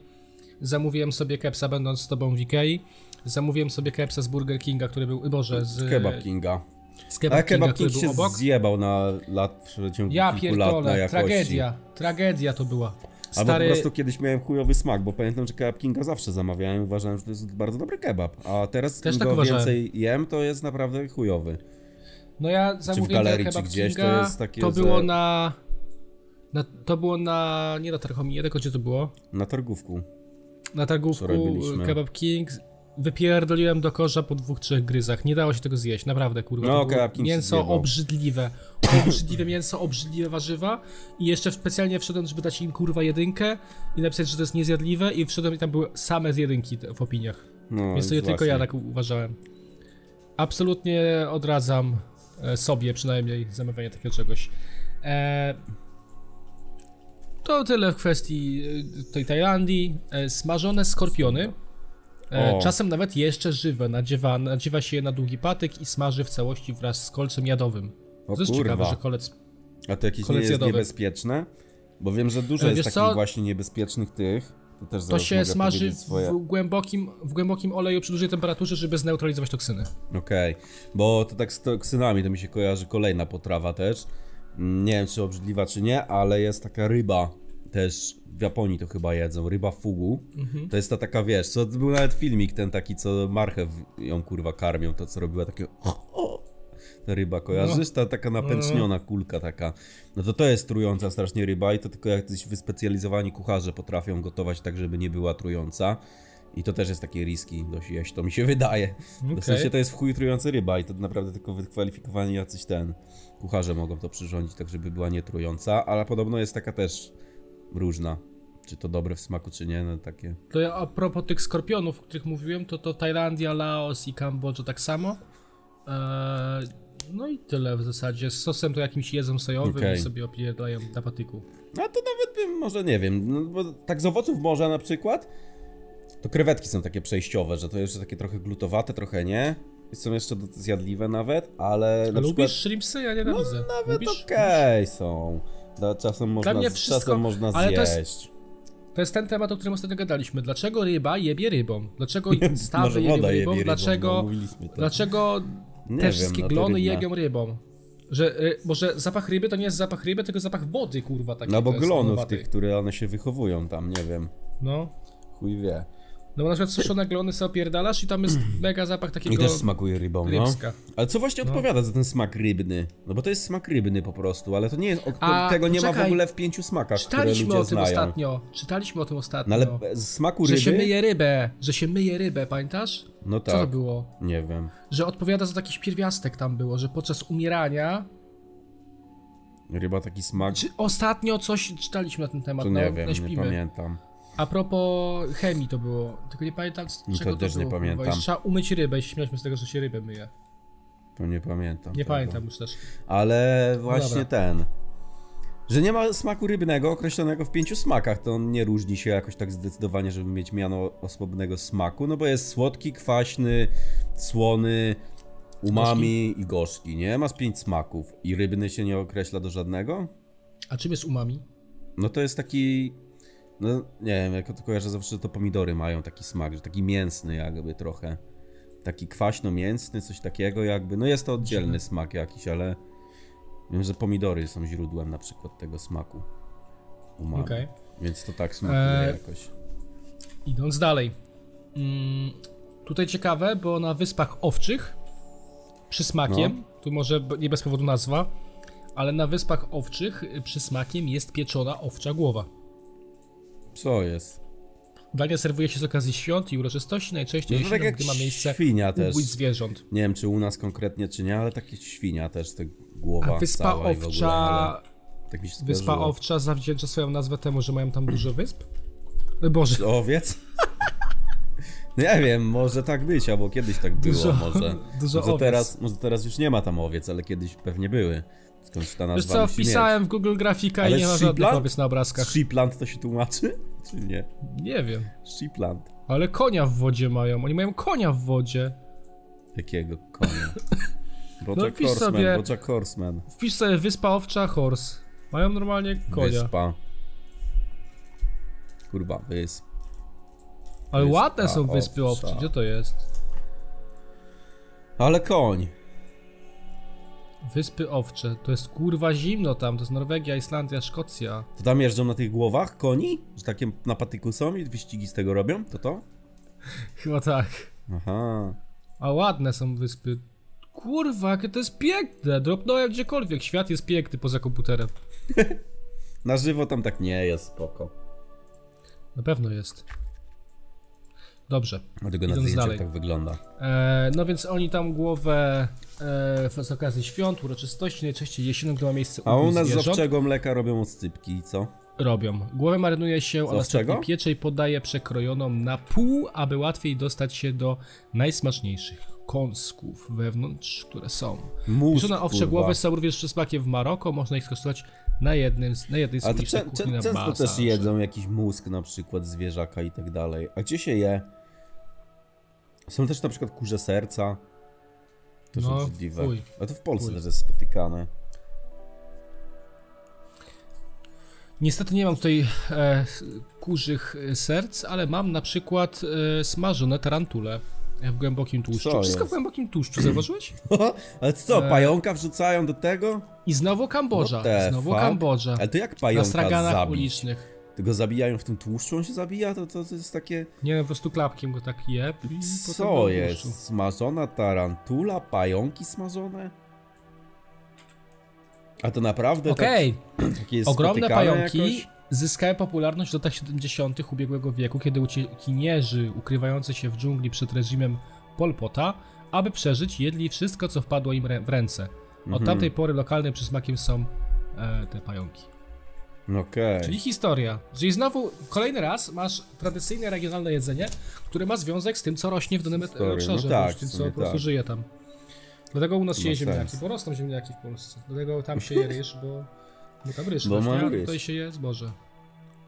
[SPEAKER 1] zamówiłem sobie kepsa będąc z tobą w Ikei. Zamówiłem sobie kepsa z Burger Kinga, który był, Boże, z
[SPEAKER 2] Kebab Kinga.
[SPEAKER 1] Z e,
[SPEAKER 2] A
[SPEAKER 1] kebab Kinga,
[SPEAKER 2] Kebab
[SPEAKER 1] który
[SPEAKER 2] King się
[SPEAKER 1] był obok.
[SPEAKER 2] zjebał na lat, w ciągu
[SPEAKER 1] Ja
[SPEAKER 2] kilku lat na
[SPEAKER 1] pierdolę,
[SPEAKER 2] jakości.
[SPEAKER 1] tragedia, tragedia to była.
[SPEAKER 2] Albo
[SPEAKER 1] Stary,
[SPEAKER 2] po prostu kiedyś miałem chujowy smak, bo pamiętam, że kebab Kinga zawsze zamawiałem i uważałem, że to jest bardzo dobry kebab. A teraz
[SPEAKER 1] Też
[SPEAKER 2] im
[SPEAKER 1] tak
[SPEAKER 2] go
[SPEAKER 1] uważałem.
[SPEAKER 2] więcej jem, to jest naprawdę chujowy.
[SPEAKER 1] no ja zamówiłem
[SPEAKER 2] galerii,
[SPEAKER 1] ten kebab
[SPEAKER 2] czy gdzieś, to
[SPEAKER 1] Kinga,
[SPEAKER 2] jest takie,
[SPEAKER 1] to było
[SPEAKER 2] że-
[SPEAKER 1] na, na... To było na... nie na Tarchominie, tylko gdzie to było?
[SPEAKER 2] Na targówku.
[SPEAKER 1] Na
[SPEAKER 2] Wczoraj
[SPEAKER 1] targówku
[SPEAKER 2] byliśmy.
[SPEAKER 1] Kebab King wypierdoliłem do korza po dwóch, trzech gryzach. Nie dało się tego zjeść, naprawdę, kurwa.
[SPEAKER 2] No,
[SPEAKER 1] to było
[SPEAKER 2] Kebab King się
[SPEAKER 1] mięso
[SPEAKER 2] zjebał.
[SPEAKER 1] obrzydliwe. Obrzydliwe mięso, obrzydliwe warzywa i jeszcze specjalnie wszedłem, żeby dać im kurwa jedynkę i napisać, że to jest niezjadliwe i wszedłem i tam były same z jedynki te- w opiniach.
[SPEAKER 2] No,
[SPEAKER 1] Więc to nie tylko
[SPEAKER 2] właśnie.
[SPEAKER 1] ja tak u- uważałem. Absolutnie odradzam e, sobie przynajmniej zamawianie takiego czegoś. E, to tyle w kwestii e, tej Tajlandii. E, smażone skorpiony. E,
[SPEAKER 2] O.
[SPEAKER 1] czasem nawet jeszcze żywe. Nadziewa, nadziewa się je na długi patyk i smaży w całości wraz z kolcem jadowym.
[SPEAKER 2] O
[SPEAKER 1] to jest ciekawe,
[SPEAKER 2] kurwa.
[SPEAKER 1] że kolec...
[SPEAKER 2] A to jakieś nie
[SPEAKER 1] Kolec
[SPEAKER 2] jest
[SPEAKER 1] jadowy.
[SPEAKER 2] niebezpieczne? Bo wiem, że dużo
[SPEAKER 1] E,
[SPEAKER 2] jest
[SPEAKER 1] wiesz
[SPEAKER 2] takich
[SPEAKER 1] co?
[SPEAKER 2] właśnie niebezpiecznych tych. To też
[SPEAKER 1] To
[SPEAKER 2] zaraz
[SPEAKER 1] się
[SPEAKER 2] mogę
[SPEAKER 1] smaży
[SPEAKER 2] powiedzieć swoje.
[SPEAKER 1] w głębokim, w głębokim oleju przy dużej temperaturze, żeby zneutralizować toksyny.
[SPEAKER 2] Okej, bo to tak z toksynami to mi się kojarzy kolejna potrawa też. Mm, Nie wiem, czy obrzydliwa, czy nie, ale jest taka ryba też. W Japonii to chyba jedzą, ryba fugu.
[SPEAKER 1] Mhm.
[SPEAKER 2] To jest ta taka, wiesz, co był nawet filmik ten taki, co marchew ją kurwa karmią, to co robiła takie... Ta ryba, kojarzysz? Ta taka napęczniona kulka taka. No to to jest trująca strasznie ryba i to tylko jacyś wyspecjalizowani kucharze potrafią gotować tak, żeby nie była trująca. I to też jest takie riski dość jeść, to mi się wydaje.
[SPEAKER 1] Okej.
[SPEAKER 2] W sensie to jest w chuj trujący ryba i to naprawdę tylko wykwalifikowani jacyś ten kucharze mogą to przyrządzić, tak żeby była nietrująca, ale podobno jest taka też różna. Czy to dobre w smaku, czy nie, no takie.
[SPEAKER 1] To ja a propos tych skorpionów, o których mówiłem, to to Tajlandia, Laos i Kambodża tak samo. Eee, no i tyle w zasadzie. Z sosem to jakimś jedzą sojowym
[SPEAKER 2] Okej.
[SPEAKER 1] i sobie opierdają na patyku.
[SPEAKER 2] A to nawet bym, może nie wiem, no bo tak z owoców morza na przykład, to krewetki są takie przejściowe, że to jeszcze takie trochę glutowate, trochę nie. Są jeszcze do- zjadliwe nawet, ale na
[SPEAKER 1] Lubisz
[SPEAKER 2] przykład...
[SPEAKER 1] shrimpsy? Ja nienawidzę.
[SPEAKER 2] No nawet
[SPEAKER 1] Lubisz?
[SPEAKER 2] okej są. Da- Czasem można,
[SPEAKER 1] mnie wszystko-
[SPEAKER 2] czasem można
[SPEAKER 1] ale to jest-
[SPEAKER 2] zjeść.
[SPEAKER 1] To jest ten temat, o którym ostatnio gadaliśmy. Dlaczego ryba jebie rybą? Dlaczego stawy
[SPEAKER 2] Może
[SPEAKER 1] jebią
[SPEAKER 2] woda jebie
[SPEAKER 1] rybą?
[SPEAKER 2] rybą, no,
[SPEAKER 1] Dlaczego,
[SPEAKER 2] mówiliśmy to.
[SPEAKER 1] dlaczego
[SPEAKER 2] Nie
[SPEAKER 1] te
[SPEAKER 2] wiem,
[SPEAKER 1] wszystkie
[SPEAKER 2] no to
[SPEAKER 1] glony
[SPEAKER 2] rybne.
[SPEAKER 1] jebią rybą? Że, y, może zapach ryby to nie jest zapach ryby, tylko zapach wody, kurwa. Taki
[SPEAKER 2] No bo
[SPEAKER 1] to jest
[SPEAKER 2] glonów
[SPEAKER 1] odowaty.
[SPEAKER 2] tych, które one się wychowują tam, nie wiem.
[SPEAKER 1] No.
[SPEAKER 2] Chuj wie.
[SPEAKER 1] No bo na przykład suszone glony sobie opierdalasz i tam jest mega zapach takiego...
[SPEAKER 2] Mm. I też smakuje rybą, no.
[SPEAKER 1] rybska.
[SPEAKER 2] Ale co właśnie odpowiada za ten smak rybny? No bo to jest smak rybny po prostu, ale to nie jest, o,
[SPEAKER 1] A,
[SPEAKER 2] tego nie ma w
[SPEAKER 1] czekaj.
[SPEAKER 2] ogóle w pięciu smakach, które
[SPEAKER 1] Czytaliśmy
[SPEAKER 2] ludzie
[SPEAKER 1] o tym
[SPEAKER 2] znają.
[SPEAKER 1] ostatnio. Czytaliśmy o tym ostatnio.
[SPEAKER 2] No ale be- z smaku
[SPEAKER 1] Że
[SPEAKER 2] ryby?
[SPEAKER 1] się myje rybę. Że się myje rybę, pamiętasz?
[SPEAKER 2] No
[SPEAKER 1] Co to
[SPEAKER 2] tak,
[SPEAKER 1] było?
[SPEAKER 2] nie wiem.
[SPEAKER 1] Że odpowiada za jakiś pierwiastek tam było, że podczas umierania...
[SPEAKER 2] Ryba taki smak,
[SPEAKER 1] Czy ostatnio coś czytaliśmy na ten temat,
[SPEAKER 2] to
[SPEAKER 1] no,
[SPEAKER 2] nie wiem, nie
[SPEAKER 1] śpimy.
[SPEAKER 2] pamiętam.
[SPEAKER 1] A propos chemii to było, tylko nie pamiętam z
[SPEAKER 2] No
[SPEAKER 1] czego
[SPEAKER 2] to też nie
[SPEAKER 1] było, kurwa.
[SPEAKER 2] pamiętam.
[SPEAKER 1] Jeszcze Trzeba umyć rybę i się śmialiśmy z tego, że się rybę myje.
[SPEAKER 2] To nie pamiętam.
[SPEAKER 1] Nie
[SPEAKER 2] tego.
[SPEAKER 1] pamiętam już też.
[SPEAKER 2] Ale właśnie
[SPEAKER 1] dobra.
[SPEAKER 2] ten. Że nie ma smaku rybnego określonego w pięciu smakach, to on nie różni się jakoś tak zdecydowanie, żeby mieć miano osobnego smaku, no bo jest słodki, kwaśny, słony, umami i gorzki, nie? Ma z pięć smaków i rybny się nie określa do żadnego?
[SPEAKER 1] A czym jest umami?
[SPEAKER 2] No to jest taki. No nie wiem, jako to kojarzę zawsze, że to pomidory mają taki smak, że taki mięsny jakby trochę. Taki kwaśno-mięsny, coś takiego jakby. No jest to oddzielny smak jakiś, ale wiem, że pomidory są źródłem na przykład tego smaku. Umami.
[SPEAKER 1] Okej.
[SPEAKER 2] Więc to tak smakuje
[SPEAKER 1] Eee,
[SPEAKER 2] jakoś.
[SPEAKER 1] Idąc dalej. Mm, tutaj ciekawe, bo na Wyspach Owczych, przysmakiem,
[SPEAKER 2] No.
[SPEAKER 1] tu może b- nie bez powodu nazwa, ale na Wyspach Owczych y, przysmakiem jest pieczona owcza głowa.
[SPEAKER 2] Co jest?
[SPEAKER 1] Dania serwuje się z okazji świąt i uroczystości, najczęściej
[SPEAKER 2] No to tak
[SPEAKER 1] jesienią,
[SPEAKER 2] jak
[SPEAKER 1] gdy ma miejsce
[SPEAKER 2] świnia też.
[SPEAKER 1] ubój zwierząt.
[SPEAKER 2] Nie wiem, czy u nas konkretnie, czy nie, ale takie świnia też, te głowa
[SPEAKER 1] A Wyspa
[SPEAKER 2] cała i w ogóle, ale
[SPEAKER 1] Owcza,
[SPEAKER 2] tak mi się
[SPEAKER 1] Wyspa
[SPEAKER 2] skojarzyło.
[SPEAKER 1] Owcza zawdzięcza swoją nazwę temu, że mają tam dużo wysp. E, Boże,
[SPEAKER 2] Do owiec? Nie wiem, może tak być, albo kiedyś tak było,
[SPEAKER 1] Dużo-
[SPEAKER 2] może.
[SPEAKER 1] dużo
[SPEAKER 2] może,
[SPEAKER 1] owiec.
[SPEAKER 2] teraz, może teraz już nie ma tam owiec, ale kiedyś pewnie były. Skąd ta nazwa
[SPEAKER 1] wiesz co,
[SPEAKER 2] musi mieć.
[SPEAKER 1] wpisałem w Google grafika i
[SPEAKER 2] Ale
[SPEAKER 1] nie ma żadnych
[SPEAKER 2] Shipland?
[SPEAKER 1] owiec na obrazkach.
[SPEAKER 2] Sheepland to się tłumaczy? Czy nie?
[SPEAKER 1] Nie wiem.
[SPEAKER 2] Sheepland.
[SPEAKER 1] Ale konia w wodzie mają. Oni mają konia w wodzie.
[SPEAKER 2] Jakiego konia? Bojack
[SPEAKER 1] No, wpisz
[SPEAKER 2] Horseman,
[SPEAKER 1] sobie
[SPEAKER 2] Bojack Horseman.
[SPEAKER 1] Wpisz sobie wyspa owcza horse. Mają normalnie konia.
[SPEAKER 2] Wyspa. Kurwa, wysp.
[SPEAKER 1] Ale
[SPEAKER 2] wyspa
[SPEAKER 1] ładne są wyspy
[SPEAKER 2] owcza.
[SPEAKER 1] owcze. Gdzie to jest?
[SPEAKER 2] Ale koń.
[SPEAKER 1] Wyspy owcze. To jest kurwa zimno tam. To jest Norwegia, Islandia, Szkocja.
[SPEAKER 2] To tam jeżdżą na tych głowach koni? Że takie na patyku są i wyścigi z tego robią? To to?
[SPEAKER 1] Chyba tak.
[SPEAKER 2] Aha.
[SPEAKER 1] A ładne są wyspy. Kurwa, jakie to jest piękne. Dropnąłem gdziekolwiek. Świat jest piękny poza komputerem.
[SPEAKER 2] Na żywo tam tak nie jest, spoko.
[SPEAKER 1] Na pewno jest. Dobrze.
[SPEAKER 2] Dlatego na
[SPEAKER 1] Idąc
[SPEAKER 2] zdjęciach
[SPEAKER 1] dalej.
[SPEAKER 2] tak wygląda.
[SPEAKER 1] E, no więc oni tam głowę e, z okazji świąt, uroczystości, najczęściej jesienią, gdy ma miejsce
[SPEAKER 2] A u
[SPEAKER 1] ubój
[SPEAKER 2] nas z
[SPEAKER 1] zwierząt.
[SPEAKER 2] owczego mleka robią oscypki i co?
[SPEAKER 1] Robią. Głowę marynuje się, a następnie
[SPEAKER 2] owczego?
[SPEAKER 1] piecze i podaje przekrojoną na pół, aby łatwiej dostać się do najsmaczniejszych kąsków wewnątrz, które są.
[SPEAKER 2] Mózg,
[SPEAKER 1] Pieczone owcze
[SPEAKER 2] kurwa.
[SPEAKER 1] głowy są również przysmakiem w Maroko, można ich skosztować na jednym z, na jednej z
[SPEAKER 2] Ale to
[SPEAKER 1] uliczek
[SPEAKER 2] czę-
[SPEAKER 1] kuchni na
[SPEAKER 2] czę- często
[SPEAKER 1] Bazarze.
[SPEAKER 2] też jedzą jakiś mózg na przykład zwierzaka i tak dalej. A gdzie się je? Są też na przykład kurze serca. To
[SPEAKER 1] No,
[SPEAKER 2] no, obrzydliwe.
[SPEAKER 1] fuj,
[SPEAKER 2] A to w Polsce
[SPEAKER 1] fuj.
[SPEAKER 2] też jest spotykane.
[SPEAKER 1] Niestety nie mam tutaj e, s- kurzych e, serc, ale mam na przykład e, smażone tarantule w głębokim tłuszczu.
[SPEAKER 2] Co
[SPEAKER 1] Wszystko
[SPEAKER 2] jest?
[SPEAKER 1] w głębokim tłuszczu, zauważyłeś?
[SPEAKER 2] Ale
[SPEAKER 1] E,
[SPEAKER 2] co, pająka wrzucają do tego?
[SPEAKER 1] I
[SPEAKER 2] No
[SPEAKER 1] znowu Kambodża,
[SPEAKER 2] What the
[SPEAKER 1] znowu
[SPEAKER 2] fuck?
[SPEAKER 1] Kambodża.
[SPEAKER 2] Ale to jak
[SPEAKER 1] Na
[SPEAKER 2] pająka
[SPEAKER 1] straganach
[SPEAKER 2] zabić?
[SPEAKER 1] ulicznych.
[SPEAKER 2] Tego zabijają w tym tłuszczu, on się zabija? To, to, to jest takie...
[SPEAKER 1] Nie, po prostu klapkiem go tak je. i potem
[SPEAKER 2] Co
[SPEAKER 1] do
[SPEAKER 2] jest?
[SPEAKER 1] uszu.
[SPEAKER 2] Smażona tarantula, pająki smażone? A to naprawdę
[SPEAKER 1] Okej,
[SPEAKER 2] tak, takie jest
[SPEAKER 1] ogromne
[SPEAKER 2] spotykane
[SPEAKER 1] pająki
[SPEAKER 2] Jakoś?
[SPEAKER 1] zyskały popularność w latach 70. ubiegłego wieku, kiedy uciekinierzy ukrywający się w dżungli przed reżimem Pol Pota, aby przeżyć, jedli wszystko, co wpadło im rę- w ręce. Od
[SPEAKER 2] Mhm.
[SPEAKER 1] tamtej pory lokalnym przysmakiem są e, te pająki.
[SPEAKER 2] No Okej.
[SPEAKER 1] Czyli historia. Czyli znowu kolejny raz masz tradycyjne regionalne jedzenie, które ma związek z tym, co rośnie w danym et-
[SPEAKER 2] Historia, no
[SPEAKER 1] obszarze,
[SPEAKER 2] tak,
[SPEAKER 1] z tym,
[SPEAKER 2] w
[SPEAKER 1] co
[SPEAKER 2] sumie
[SPEAKER 1] po prostu
[SPEAKER 2] tak.
[SPEAKER 1] żyje tam. Dlatego u nas się
[SPEAKER 2] Ma
[SPEAKER 1] je ziemniaki,
[SPEAKER 2] sens.
[SPEAKER 1] bo rosną ziemniaki w Polsce. Dlatego tam się je ryż, bo, bo tam ryż
[SPEAKER 2] Bo
[SPEAKER 1] rośnie,
[SPEAKER 2] mamy
[SPEAKER 1] a
[SPEAKER 2] ryż.
[SPEAKER 1] tutaj się je zboże.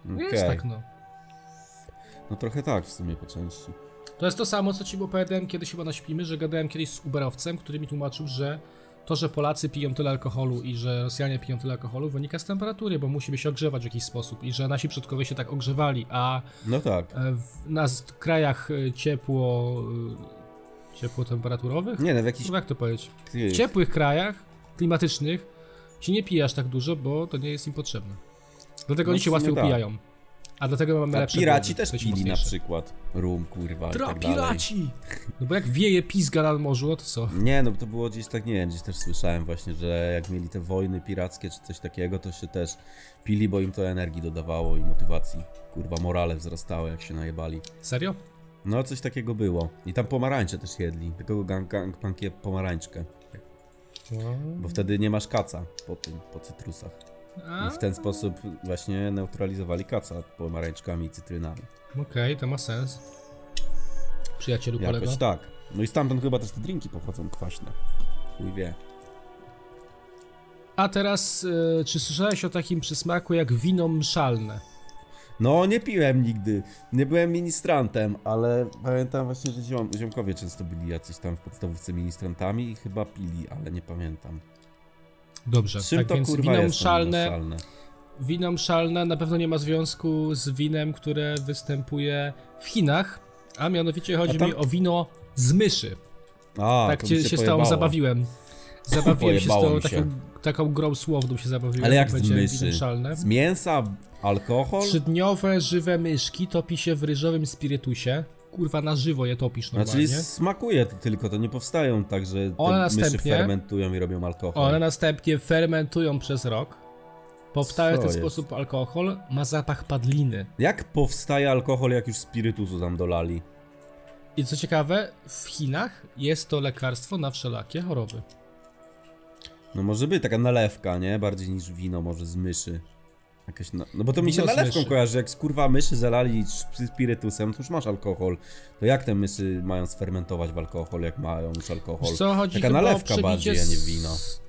[SPEAKER 1] No
[SPEAKER 2] Okej.
[SPEAKER 1] Jest tak, no.
[SPEAKER 2] No trochę tak w sumie po części.
[SPEAKER 1] To jest to samo, co ci opowiadałem kiedyś chyba na śpimy, że gadałem kiedyś z Uberowcem, który mi tłumaczył, że to, że Polacy piją tyle alkoholu i że Rosjanie piją tyle alkoholu, wynika z temperatury, bo musimy się ogrzewać w jakiś sposób i że nasi przodkowie się tak ogrzewali, a
[SPEAKER 2] No tak.
[SPEAKER 1] E, w, na z- krajach e, ciepło e, ciepłotemperaturowych?
[SPEAKER 2] Nie no, w jakichś
[SPEAKER 1] Kurwa, Jak to powiedzieć? W
[SPEAKER 2] tych
[SPEAKER 1] ciepłych krajach klimatycznych się nie pijasz tak dużo, bo to nie jest im potrzebne. Dlatego
[SPEAKER 2] No
[SPEAKER 1] oni
[SPEAKER 2] w
[SPEAKER 1] się
[SPEAKER 2] sumie
[SPEAKER 1] łatwiej
[SPEAKER 2] tak.
[SPEAKER 1] upijają. A dlatego mamy
[SPEAKER 2] A
[SPEAKER 1] lepsze głowy,
[SPEAKER 2] piraci też
[SPEAKER 1] jesteśmy
[SPEAKER 2] pili na
[SPEAKER 1] mocniejsze.
[SPEAKER 2] przykład rum, kurwa i
[SPEAKER 1] Tra,
[SPEAKER 2] tak dalej.
[SPEAKER 1] piraci! No bo jak wieje pizga na morzu, no to co?
[SPEAKER 2] Nie no, bo to było gdzieś tak, nie wiem, gdzieś też słyszałem właśnie, że jak mieli te wojny pirackie czy coś takiego, to się też pili, bo im to energii dodawało i motywacji. Kurwa, morale wzrastały, jak się najebali.
[SPEAKER 1] Serio?
[SPEAKER 2] No, coś takiego było. I tam pomarańcze też jedli. Tylko gang, gangplank je pomarańczkę. Tak. Bo wtedy nie masz kaca po tym, po cytrusach.
[SPEAKER 1] A,
[SPEAKER 2] I w ten sposób właśnie neutralizowali kaca pomarańczkami i cytrynami.
[SPEAKER 1] Okej, to ma sens. Przyjacielu kolego.
[SPEAKER 2] Jakoś tak. No i stamtąd chyba też te drinki pochodzą kwaśne. Chuj wie.
[SPEAKER 1] A teraz, e, czy słyszałeś o takim przysmaku jak wino mszalne?
[SPEAKER 2] No, nie piłem nigdy. Nie byłem ministrantem, ale pamiętam właśnie, że ziom, ziomkowie często byli jacyś tam w podstawówce ministrantami i chyba pili, ale nie pamiętam.
[SPEAKER 1] Dobrze,
[SPEAKER 2] Czym
[SPEAKER 1] tak
[SPEAKER 2] to
[SPEAKER 1] więc
[SPEAKER 2] kurwa
[SPEAKER 1] wino
[SPEAKER 2] jest to wino
[SPEAKER 1] mszalne, wino mszalne na pewno nie ma związku z winem, które występuje w Chinach, a mianowicie chodzi
[SPEAKER 2] A tam-
[SPEAKER 1] mi o wino z myszy.
[SPEAKER 2] A,
[SPEAKER 1] tak
[SPEAKER 2] to
[SPEAKER 1] cię
[SPEAKER 2] mi
[SPEAKER 1] się z tobą
[SPEAKER 2] pojebało.
[SPEAKER 1] zabawiłem. Zabawiłem się z
[SPEAKER 2] Pojebało
[SPEAKER 1] tobą
[SPEAKER 2] mi się.
[SPEAKER 1] taką, taką grą słowną się zabawiłem.
[SPEAKER 2] Ale jak z
[SPEAKER 1] będzie wino
[SPEAKER 2] myszy?
[SPEAKER 1] mszalne.
[SPEAKER 2] Z mięsa? Alkohol?
[SPEAKER 1] Trzydniowe żywe myszki topi się w ryżowym spirytusie. Kurwa, na żywo je topisz
[SPEAKER 2] A No, czyli
[SPEAKER 1] normalnie.
[SPEAKER 2] Znaczy, smakuje to tylko, to nie powstają tak, że te
[SPEAKER 1] One
[SPEAKER 2] myszy
[SPEAKER 1] następnie-
[SPEAKER 2] fermentują i robią alkohol.
[SPEAKER 1] One następnie fermentują przez rok. Powstaje w
[SPEAKER 2] Co
[SPEAKER 1] ten
[SPEAKER 2] jest?
[SPEAKER 1] sposób alkohol, ma zapach padliny.
[SPEAKER 2] Jak powstaje alkohol, jak już spirytusu tam dolali?
[SPEAKER 1] I co ciekawe, w Chinach jest to lekarstwo na wszelakie choroby.
[SPEAKER 2] No może być taka nalewka, nie? Bardziej niż wino, może z myszy. Jakaś na... No bo to mi się
[SPEAKER 1] Wino z
[SPEAKER 2] nalewką
[SPEAKER 1] myszy.
[SPEAKER 2] kojarzy, jak z kurwa myszy zalali z spirytusem, to już masz alkohol. To jak te myszy mają sfermentować w alkohol, jak mają już alkohol?
[SPEAKER 1] Wiesz co, chodzi
[SPEAKER 2] Taka
[SPEAKER 1] chyba o
[SPEAKER 2] nalewka
[SPEAKER 1] przebicie
[SPEAKER 2] bardziej, a nie wino.
[SPEAKER 1] z-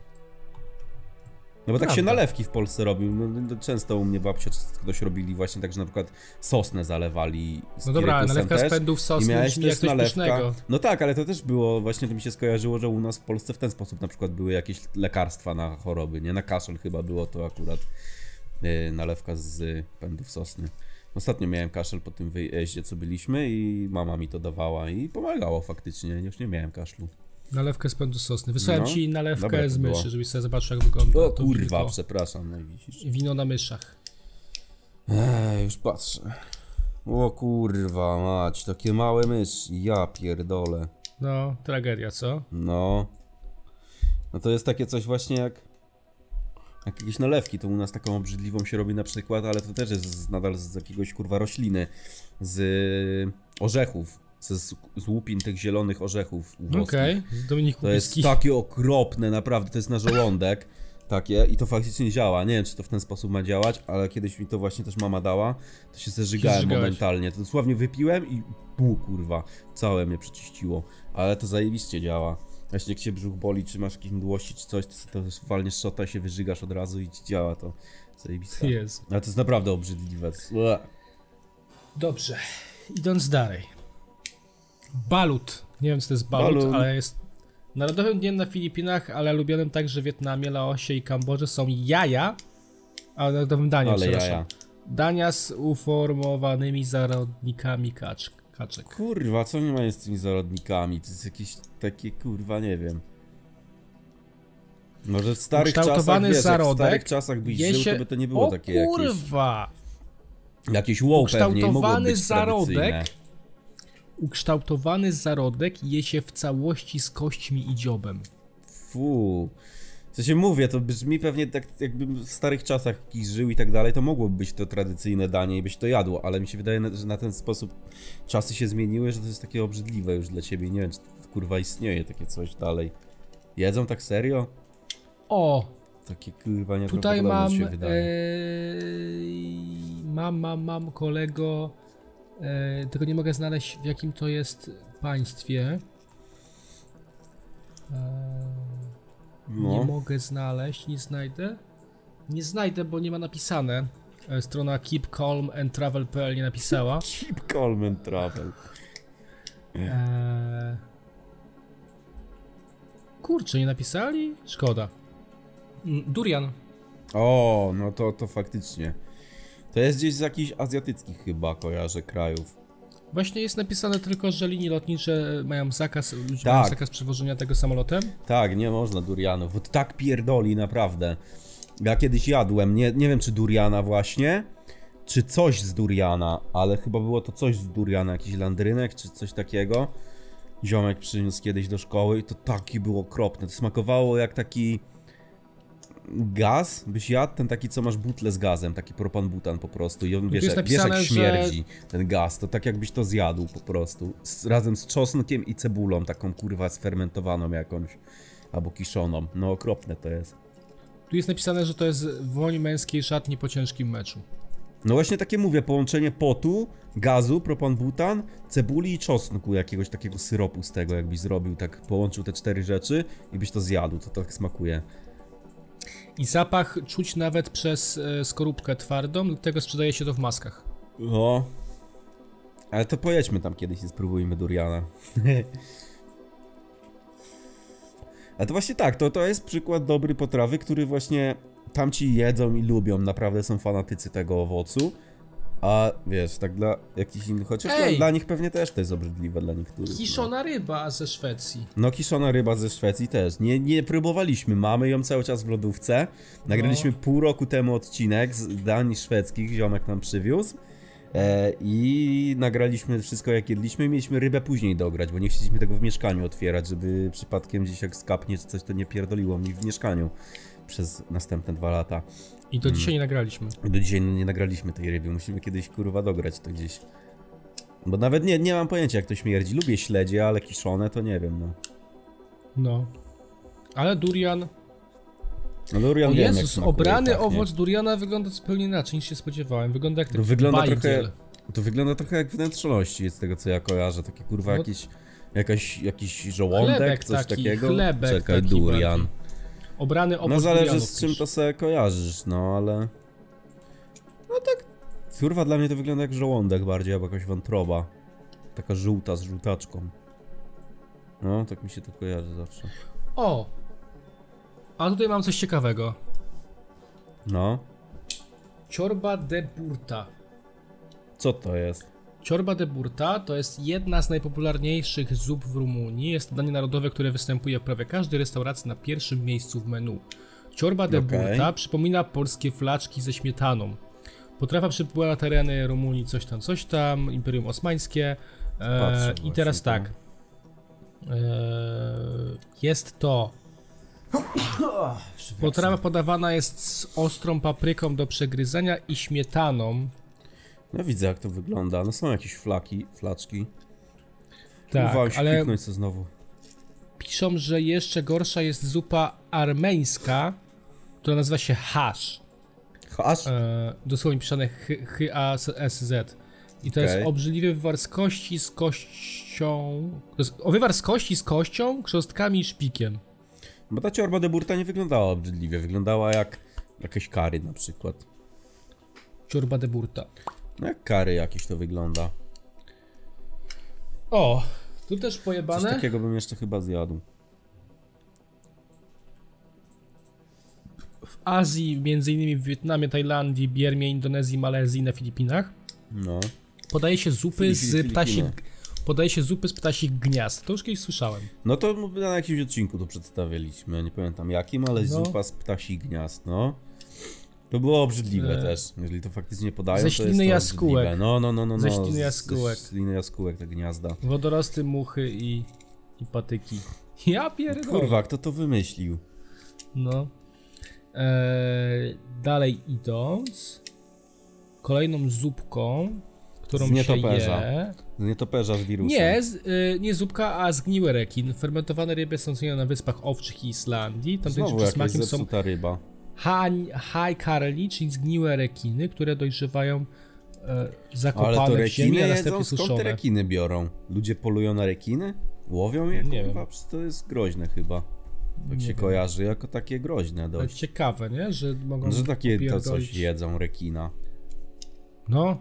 [SPEAKER 2] No bo tak się
[SPEAKER 1] Prawda.
[SPEAKER 2] nalewki w Polsce robił. No, no, często u mnie babcia czy ktoś robili właśnie tak, że na przykład sosnę zalewali
[SPEAKER 1] No dobra, ale
[SPEAKER 2] spirytusem
[SPEAKER 1] nalewka z
[SPEAKER 2] też.
[SPEAKER 1] pędów
[SPEAKER 2] I
[SPEAKER 1] sosny
[SPEAKER 2] miałeś
[SPEAKER 1] brzmi jak
[SPEAKER 2] też
[SPEAKER 1] coś pysznego.
[SPEAKER 2] nalewka. No tak, ale to też było, właśnie to mi się skojarzyło, że u nas w Polsce w ten sposób na przykład były jakieś lekarstwa na choroby, nie? Na kaszel chyba było to akurat yy, nalewka z pędów sosny. Ostatnio miałem kaszel po tym wyjeździe, co byliśmy i mama mi to dawała i pomagało faktycznie, już nie miałem kaszlu.
[SPEAKER 1] Nalewkę z pędu sosny. Wysłałem
[SPEAKER 2] No.
[SPEAKER 1] ci nalewkę
[SPEAKER 2] Dobra, to
[SPEAKER 1] z
[SPEAKER 2] było.
[SPEAKER 1] myszy, żebyś sobie zobaczył jak wygląda.
[SPEAKER 2] O
[SPEAKER 1] to
[SPEAKER 2] kurwa,
[SPEAKER 1] wino.
[SPEAKER 2] przepraszam, no i widzisz.
[SPEAKER 1] Wino na myszach.
[SPEAKER 2] Ej, już patrzę. O kurwa mać, takie małe myszy, ja pierdolę.
[SPEAKER 1] No, tragedia, co?
[SPEAKER 2] No. No to jest takie coś właśnie jak. Jak jakieś nalewki, to u nas taką obrzydliwą się robi na przykład, ale to też jest z, nadal z jakiegoś kurwa rośliny. Z y, orzechów. Z, z, z łupin tych zielonych orzechów. włoskich.
[SPEAKER 1] Okej, Dominik
[SPEAKER 2] To jest tak.
[SPEAKER 1] Kubicki.
[SPEAKER 2] takie okropne, naprawdę, to jest na żołądek. Takie i to faktycznie działa. Nie wiem, czy to w ten sposób ma działać, ale kiedyś mi to właśnie też mama dała, to się zeżygałem
[SPEAKER 1] zżygałeś.
[SPEAKER 2] momentalnie. To dosłownie wypiłem i bu kurwa, całe mnie przeczyściło. Ale to zajebiście działa. Właśnie jak się brzuch boli, czy masz jakieś mdłości, czy coś, to, to walniesz szota i się wyżygasz od razu i ci działa to. Zajebiste.
[SPEAKER 1] Jezu.
[SPEAKER 2] Ale to jest naprawdę obrzydliwe. To jest- Ue.
[SPEAKER 1] Dobrze, idąc dalej. Balut. Nie wiem, co to jest balut,
[SPEAKER 2] Balun.
[SPEAKER 1] ale jest narodowym dniem na Filipinach, ale lubianym także w Wietnamie, Laosie i Kambodży są jaja, a narodowym daniem,
[SPEAKER 2] Ale
[SPEAKER 1] przepraszam.
[SPEAKER 2] jaja.
[SPEAKER 1] Dania z uformowanymi zarodnikami kacz, kaczek.
[SPEAKER 2] Kurwa, co nie ma jest z tymi zarodnikami? To jest jakieś takie, kurwa, nie wiem. Może w starych czasach,
[SPEAKER 1] Ukształtowany
[SPEAKER 2] wiesz, jak w
[SPEAKER 1] zarodek
[SPEAKER 2] starych czasach byś
[SPEAKER 1] Je
[SPEAKER 2] żył,
[SPEAKER 1] się-
[SPEAKER 2] to by to nie było
[SPEAKER 1] o,
[SPEAKER 2] takie jakieś...
[SPEAKER 1] kurwa!
[SPEAKER 2] Jakieś wow pewnie i mogło
[SPEAKER 1] Ukształtowany
[SPEAKER 2] być
[SPEAKER 1] zarodek.
[SPEAKER 2] tradycyjne.
[SPEAKER 1] Ukształtowany zarodek je się w całości z kośćmi i dziobem.
[SPEAKER 2] Fu. W sensie mówię, to brzmi pewnie tak, jakbym w starych czasach jakiś żył i tak dalej, to mogłoby być to tradycyjne danie i byś to jadło, ale mi się wydaje, na- że na ten sposób czasy się zmieniły, że to jest takie obrzydliwe już dla ciebie. Nie wiem, czy to, kurwa istnieje takie coś dalej. Jedzą tak serio?
[SPEAKER 1] O,
[SPEAKER 2] Takie kurwa nie
[SPEAKER 1] Tutaj mam. e,
[SPEAKER 2] się wydaje.
[SPEAKER 1] Yy, mam, mam, mam kolego. Yy, tylko nie mogę znaleźć w jakim to jest państwie. Yy, Nie
[SPEAKER 2] No.
[SPEAKER 1] mogę znaleźć, nie znajdę. Nie znajdę, bo nie ma napisane. Yy, Strona Keep Calm and Travel.pl nie napisała.
[SPEAKER 2] Keep calm and travel.
[SPEAKER 1] Yy, Kurczę, nie napisali? Szkoda. Mm, Durian.
[SPEAKER 2] O, no to, to faktycznie. To jest gdzieś z jakichś azjatyckich chyba kojarzę krajów.
[SPEAKER 1] Właśnie jest napisane tylko, że linie lotnicze mają zakaz, ludzie
[SPEAKER 2] Tak.
[SPEAKER 1] mają zakaz przewożenia tego samolotem.
[SPEAKER 2] Tak, nie można durianów, bo to tak pierdoli naprawdę. Ja kiedyś jadłem, nie, nie wiem czy duriana właśnie, czy coś z duriana, ale chyba było to coś z duriana, jakiś landrynek czy coś takiego. Ziomek przyniósł kiedyś do szkoły i to taki był okropny. To smakowało jak taki gaz, byś jadł, ten taki co masz butle z gazem, taki propan-butan po prostu i on, wiesz,
[SPEAKER 1] jest
[SPEAKER 2] jak- wiesz jak
[SPEAKER 1] napisane, że-
[SPEAKER 2] śmierdzi ten gaz, to tak jakbyś to zjadł po prostu, z, razem z czosnkiem i cebulą taką kurwa sfermentowaną jakąś, albo kiszoną, no okropne to jest.
[SPEAKER 1] Tu jest napisane, że to jest woń męskiej szatni po ciężkim meczu.
[SPEAKER 2] No właśnie takie mówię, połączenie potu, gazu, propan-butan, cebuli i czosnku, jakiegoś takiego syropu z tego, jakbyś zrobił, tak połączył te cztery rzeczy i byś to zjadł, to tak smakuje.
[SPEAKER 1] I zapach czuć nawet przez e, skorupkę twardą, dlatego sprzedaje się to w maskach.
[SPEAKER 2] O. No. Ale to pojedźmy tam kiedyś i spróbujmy Duriana. A to właśnie tak, to, to jest przykład dobry potrawy, który właśnie tamci jedzą i lubią, naprawdę są fanatycy tego owocu. A wiesz, tak dla jakichś innych, chociaż dla,
[SPEAKER 1] Ej!
[SPEAKER 2] dla nich pewnie też to jest obrzydliwe, dla niektórych. no.
[SPEAKER 1] Kiszona ryba ze Szwecji.
[SPEAKER 2] No kiszona ryba ze Szwecji też. Nie, nie próbowaliśmy, mamy ją cały czas w lodówce. Nagraliśmy pół roku temu odcinek z dań szwedzkich, ziomek nam przywiózł. E, I nagraliśmy wszystko jak jedliśmy i mieliśmy rybę później dograć, bo nie chcieliśmy tego w mieszkaniu otwierać, żeby przypadkiem gdzieś jak skapnie czy coś to nie pierdoliło mi w mieszkaniu przez następne dwa lata.
[SPEAKER 1] I do
[SPEAKER 2] Hmm.
[SPEAKER 1] dzisiaj nie nagraliśmy.
[SPEAKER 2] Do dzisiaj nie nagraliśmy tej ryby, musimy kiedyś kurwa dograć to gdzieś. Bo nawet nie, nie mam pojęcia jak to śmierdzi. Lubię śledzie, ale kiszone to nie wiem no.
[SPEAKER 1] No. Ale durian.
[SPEAKER 2] No Durian
[SPEAKER 1] O
[SPEAKER 2] wiem, jak
[SPEAKER 1] Jezus,
[SPEAKER 2] smakuje,
[SPEAKER 1] obrany
[SPEAKER 2] tak, nie?
[SPEAKER 1] owoc duriana wygląda zupełnie inaczej niż się spodziewałem. Wygląda jak
[SPEAKER 2] To
[SPEAKER 1] taki
[SPEAKER 2] wygląda
[SPEAKER 1] bajgiel.
[SPEAKER 2] trochę. To wygląda trochę jak wnętrzności, z tego co ja kojarzę. Takie kurwa
[SPEAKER 1] No.
[SPEAKER 2] jakieś. Jakaś, jakiś żołądek,
[SPEAKER 1] Chlebek
[SPEAKER 2] coś
[SPEAKER 1] taki,
[SPEAKER 2] takiego.
[SPEAKER 1] chlebek
[SPEAKER 2] Czekaj,
[SPEAKER 1] taki
[SPEAKER 2] durian.
[SPEAKER 1] bardziej. Obrany owoc
[SPEAKER 2] No zależy
[SPEAKER 1] durianów
[SPEAKER 2] z czym
[SPEAKER 1] też.
[SPEAKER 2] to sobie kojarzysz, no ale. No tak. Kurwa dla mnie to wygląda jak żołądek bardziej, albo jakaś wątroba. Taka żółta z żółtaczką. No, tak mi się to kojarzy zawsze.
[SPEAKER 1] O! A tutaj mam coś ciekawego.
[SPEAKER 2] No.
[SPEAKER 1] Ciorba de burta.
[SPEAKER 2] Co to jest?
[SPEAKER 1] Ciorba de burta to jest jedna z najpopularniejszych zup w Rumunii. Jest to danie narodowe, które występuje w prawie każdej restauracji na pierwszym miejscu w menu. Ciorba de
[SPEAKER 2] Okej.
[SPEAKER 1] burta przypomina polskie flaczki ze śmietaną. Potrawa przybyła na tereny Rumunii coś tam, coś tam, Imperium Osmańskie.
[SPEAKER 2] Patrzę
[SPEAKER 1] E, I
[SPEAKER 2] właśnie,
[SPEAKER 1] teraz
[SPEAKER 2] no.
[SPEAKER 1] tak. E, jest to Potrawa podawana jest z ostrą papryką do przegryzania i śmietaną.
[SPEAKER 2] No widzę jak to wygląda. No są jakieś flaki, flaczki.
[SPEAKER 1] Tak,
[SPEAKER 2] Uważ,
[SPEAKER 1] ale
[SPEAKER 2] kliknąć co znowu.
[SPEAKER 1] piszą, że jeszcze gorsza jest zupa armeńska, która nazywa się hasz.
[SPEAKER 2] Aż
[SPEAKER 1] E, dosłownie pisane H-A-S-Z. I to
[SPEAKER 2] Okej.
[SPEAKER 1] jest obrzydliwy wywar z kości z kością. To jest o, wywar z kości z kością, chrząstkami i szpikiem.
[SPEAKER 2] Bo ta ciorba de burta nie wyglądała obrzydliwie, wyglądała jak jakieś kary na przykład.
[SPEAKER 1] Ciurba de burta.
[SPEAKER 2] No jak kary jakieś to wygląda.
[SPEAKER 1] O, tu też
[SPEAKER 2] Coś
[SPEAKER 1] pojebane.
[SPEAKER 2] takiego bym jeszcze chyba zjadł.
[SPEAKER 1] W Azji, m.in. w Wietnamie, Tajlandii, Biermie, Indonezji, Malezji, na Filipinach.
[SPEAKER 2] No.
[SPEAKER 1] Podaje się zupy
[SPEAKER 2] Fili-
[SPEAKER 1] z
[SPEAKER 2] Filipiny.
[SPEAKER 1] ptasich. Podaje się zupy z ptasich gniazd. To już kiedyś słyszałem.
[SPEAKER 2] No to na jakimś odcinku to przedstawiliśmy, nie pamiętam jakim, ale
[SPEAKER 1] No.
[SPEAKER 2] zupa z ptasich gniazd, no. To było obrzydliwe
[SPEAKER 1] E.
[SPEAKER 2] też, jeżeli to faktycznie podają,
[SPEAKER 1] Ze
[SPEAKER 2] to jest
[SPEAKER 1] śliny
[SPEAKER 2] to
[SPEAKER 1] jaskółek.
[SPEAKER 2] obrzydliwe. No, no, no, no, no.
[SPEAKER 1] Ze śliny
[SPEAKER 2] z-
[SPEAKER 1] jaskółek.
[SPEAKER 2] Ze śliny jaskółek, te gniazda.
[SPEAKER 1] Wodorosty, muchy i, i patyki. Ja pierdolę.
[SPEAKER 2] Kurwa, kto to wymyślił?
[SPEAKER 1] No. Eee, dalej idąc. Kolejną zupką, którą
[SPEAKER 2] Z
[SPEAKER 1] się
[SPEAKER 2] nietoperza.
[SPEAKER 1] je.
[SPEAKER 2] Z Nietoperza z wirusem.
[SPEAKER 1] Nie, z, y, nie zupka, a zgniły rekin. Fermentowane ryby są cenione na Wyspach Owczych i Islandii. Tam
[SPEAKER 2] Znowu
[SPEAKER 1] też
[SPEAKER 2] jakaś
[SPEAKER 1] smakiem są
[SPEAKER 2] zepsuta ryba.
[SPEAKER 1] hań- hajkarli, czyli zgniłe rekiny, które dojrzewają e,
[SPEAKER 2] Ale to
[SPEAKER 1] zakopane w
[SPEAKER 2] rekiny
[SPEAKER 1] ziemi, a
[SPEAKER 2] jedzą?
[SPEAKER 1] następnie
[SPEAKER 2] Skąd
[SPEAKER 1] suszone.
[SPEAKER 2] te rekiny biorą? Ludzie polują na rekiny? Łowią je?
[SPEAKER 1] Nie
[SPEAKER 2] Nie chyba?
[SPEAKER 1] wiem.
[SPEAKER 2] Przecież To jest groźne chyba. Tak się kojarzy jako takie groźne
[SPEAKER 1] Ale
[SPEAKER 2] dość.
[SPEAKER 1] Ciekawe, nie? Że mogą
[SPEAKER 2] No, Że takie to
[SPEAKER 1] pierdolić.
[SPEAKER 2] coś jedzą rekina.
[SPEAKER 1] No.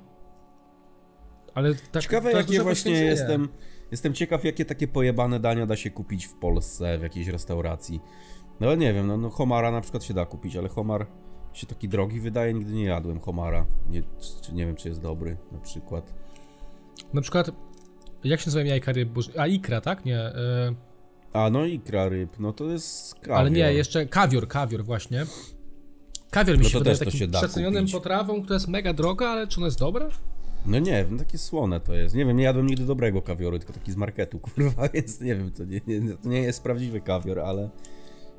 [SPEAKER 1] Ale tak,
[SPEAKER 2] Ciekawe
[SPEAKER 1] to jest
[SPEAKER 2] jakie
[SPEAKER 1] duże
[SPEAKER 2] właśnie
[SPEAKER 1] poświęcenie.
[SPEAKER 2] jestem... Jestem ciekaw jakie takie pojebane dania da się kupić w Polsce w jakiejś restauracji. No nie wiem, no, no homara na przykład się da kupić, ale homar się taki drogi wydaje, nigdy nie jadłem homara. Nie, czy- czy, nie wiem czy jest dobry na przykład.
[SPEAKER 1] Na przykład, jak się nazywa jajka ryb? Boże, A ikra, tak? Nie. e,
[SPEAKER 2] A no ikra ryb, no to jest kawior.
[SPEAKER 1] ale nie, jeszcze kawior, kawior właśnie. Kawior mi
[SPEAKER 2] No
[SPEAKER 1] się
[SPEAKER 2] to
[SPEAKER 1] wydaje
[SPEAKER 2] też to
[SPEAKER 1] takim
[SPEAKER 2] się da
[SPEAKER 1] przecenionym
[SPEAKER 2] kupić.
[SPEAKER 1] potrawą, która jest mega droga, ale czy ona jest dobra?
[SPEAKER 2] No nie wiem, takie słone to jest. Nie wiem, nie jadłem nigdy dobrego kawioru, tylko taki z marketu, kurwa, więc nie wiem, to nie, nie, to nie jest prawdziwy kawior, ale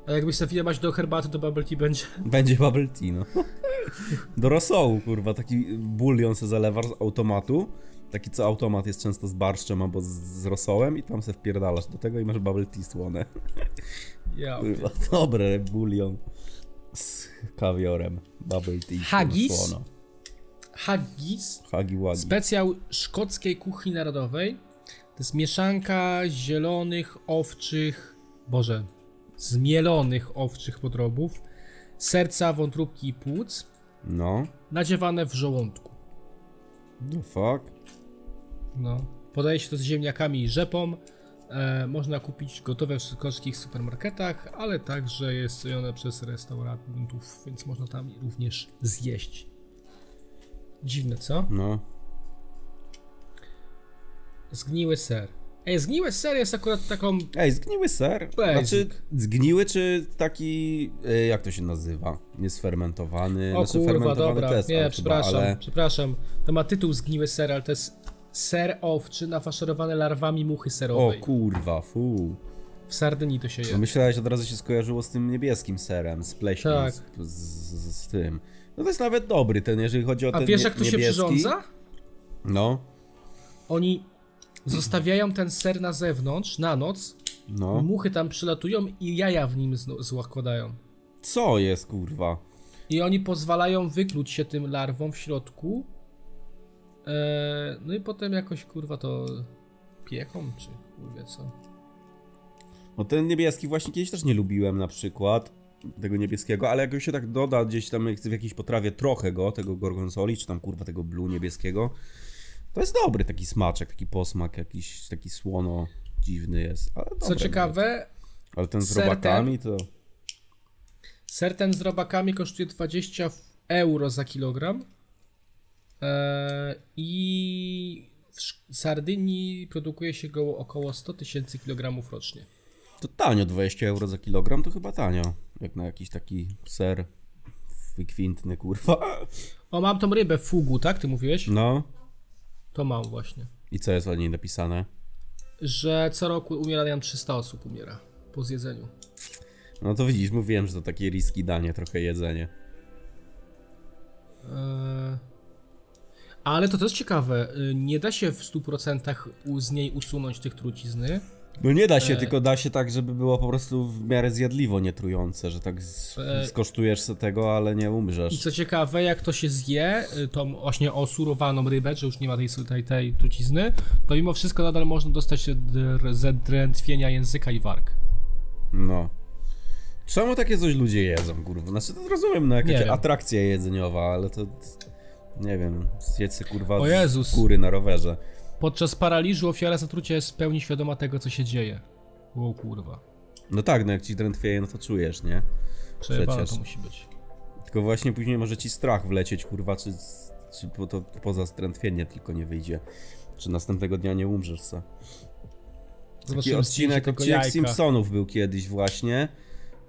[SPEAKER 1] A jakbyś sobie jebać do herbaty, to bubble tea będzie.
[SPEAKER 2] będzie bubble tea, no. Do rosołu, kurwa, taki bulion se zalewasz z automatu, taki co automat jest często z barszczem albo z, z rosołem i tam se wpierdalasz do tego i masz bubble tea słone.
[SPEAKER 1] Ja.
[SPEAKER 2] Kurwa, dobre, bulion z kawiorem, bubble tea. kurwa,
[SPEAKER 1] Haggis?
[SPEAKER 2] słono.
[SPEAKER 1] Haggis
[SPEAKER 2] Hagi wagi.
[SPEAKER 1] Specjał szkockiej kuchni narodowej. To jest mieszanka zielonych, owczych, boże, zmielonych owczych podrobów serca, wątróbki i płuc,
[SPEAKER 2] No.
[SPEAKER 1] nadziewane w żołądku.
[SPEAKER 2] The fuck?
[SPEAKER 1] No. Podaje się to z ziemniakami i rzepą. E, można kupić gotowe w szkolskich supermarketach, ale także jest jedzone przez restaurantów, więc można tam również zjeść. Dziwne, co?
[SPEAKER 2] No.
[SPEAKER 1] Zgniły ser. Ej, zgniły ser jest akurat taką
[SPEAKER 2] Ej, zgniły ser.
[SPEAKER 1] Basic.
[SPEAKER 2] Znaczy, zgniły czy taki, e, jak to się nazywa? Jest fermentowany.
[SPEAKER 1] O
[SPEAKER 2] znaczy,
[SPEAKER 1] kurwa,
[SPEAKER 2] fermentowany
[SPEAKER 1] dobra,
[SPEAKER 2] test,
[SPEAKER 1] nie,
[SPEAKER 2] ale
[SPEAKER 1] przepraszam,
[SPEAKER 2] Chyba, ale...
[SPEAKER 1] przepraszam. To ma tytuł Zgniły ser, ale to jest ser owczy nafaszerowany larwami muchy
[SPEAKER 2] O
[SPEAKER 1] serowej.
[SPEAKER 2] kurwa, fu.
[SPEAKER 1] w Sardynii to się
[SPEAKER 2] No
[SPEAKER 1] je.
[SPEAKER 2] myślałeś, od razu się skojarzyło z tym niebieskim serem, z pleśnią,
[SPEAKER 1] Tak.
[SPEAKER 2] z, z, z, z tym. No to jest nawet dobry ten, jeżeli chodzi o
[SPEAKER 1] A
[SPEAKER 2] ten
[SPEAKER 1] wiesz
[SPEAKER 2] nie-
[SPEAKER 1] jak to się
[SPEAKER 2] niebieski.
[SPEAKER 1] przyrządza?
[SPEAKER 2] No,
[SPEAKER 1] Oni zostawiają ten ser na zewnątrz, na noc,
[SPEAKER 2] no.
[SPEAKER 1] muchy tam przylatują i jaja w nim zno- zakładają.
[SPEAKER 2] Co jest, kurwa?
[SPEAKER 1] I oni pozwalają wykluć się tym larwom w środku. Eee, no i potem jakoś kurwa to pieką, czy kurwa co.
[SPEAKER 2] No ten niebieski właśnie kiedyś też nie lubiłem na przykład. Tego niebieskiego, ale jak go się tak doda gdzieś tam jak w jakiejś potrawie trochę go, tego gorgonzoli, czy tam kurwa tego blue niebieskiego, to jest dobry taki smaczek, taki posmak jakiś, taki słono dziwny jest. Ale
[SPEAKER 1] Co
[SPEAKER 2] dobry
[SPEAKER 1] ciekawe,
[SPEAKER 2] nawet. Ale ten z
[SPEAKER 1] ser
[SPEAKER 2] robakami to...
[SPEAKER 1] Ser ten z robakami kosztuje 20 f- euro za kilogram. Eee, I w Sz- Sardynii produkuje się go około 100 tysięcy kilogramów rocznie.
[SPEAKER 2] To tanio, 20 euro za kilogram to chyba tanio. Jak na jakiś taki ser wykwintny, kurwa.
[SPEAKER 1] O, mam tą rybę fugu, tak? Ty mówiłeś?
[SPEAKER 2] No.
[SPEAKER 1] To mam właśnie.
[SPEAKER 2] I co jest o niej napisane?
[SPEAKER 1] Że co roku umiera nam 300 osób umiera po zjedzeniu.
[SPEAKER 2] No to widzisz, mówiłem, że to takie riski danie, trochę jedzenie.
[SPEAKER 1] Eee, ale to też ciekawe. y, Nie da się w 100% u- z niej usunąć tych trucizny.
[SPEAKER 2] No nie da się,
[SPEAKER 1] E.
[SPEAKER 2] tylko da się tak, żeby było po prostu w miarę zjadliwo, nie trujące, że tak z,
[SPEAKER 1] E.
[SPEAKER 2] skosztujesz se tego, ale nie
[SPEAKER 1] I
[SPEAKER 2] umrzesz.
[SPEAKER 1] co ciekawe, jak to się zje, y, tą właśnie osurowaną rybę, że już nie ma tej, tej, tej trucizny, to mimo wszystko nadal można dostać się dr- zadrętwienia języka i warg.
[SPEAKER 2] No. Czemu takie coś ludzie jedzą, kurwa? Znaczy to rozumiem, no
[SPEAKER 1] Nie
[SPEAKER 2] jakaś
[SPEAKER 1] wiem.
[SPEAKER 2] atrakcja jedzeniowa, ale to... Nie wiem, zjedz se, kurwa
[SPEAKER 1] O Jezus.
[SPEAKER 2] kury na rowerze.
[SPEAKER 1] Podczas paraliżu ofiara zatrucia jest w pełni świadoma tego, co się dzieje. O kurwa.
[SPEAKER 2] No tak, no jak ci drętwieje, no to czujesz, nie?
[SPEAKER 1] Przejebane
[SPEAKER 2] Przecież.
[SPEAKER 1] to musi być.
[SPEAKER 2] Tylko właśnie później może ci strach wlecieć, kurwa, czy, czy po, to poza strętwienie tylko nie wyjdzie. Czy następnego dnia nie umrzesz se. Taki
[SPEAKER 1] Zobaczymy zdjęcie
[SPEAKER 2] odcinek,
[SPEAKER 1] tego
[SPEAKER 2] odcinek
[SPEAKER 1] jajka.
[SPEAKER 2] Simpsonów był kiedyś właśnie,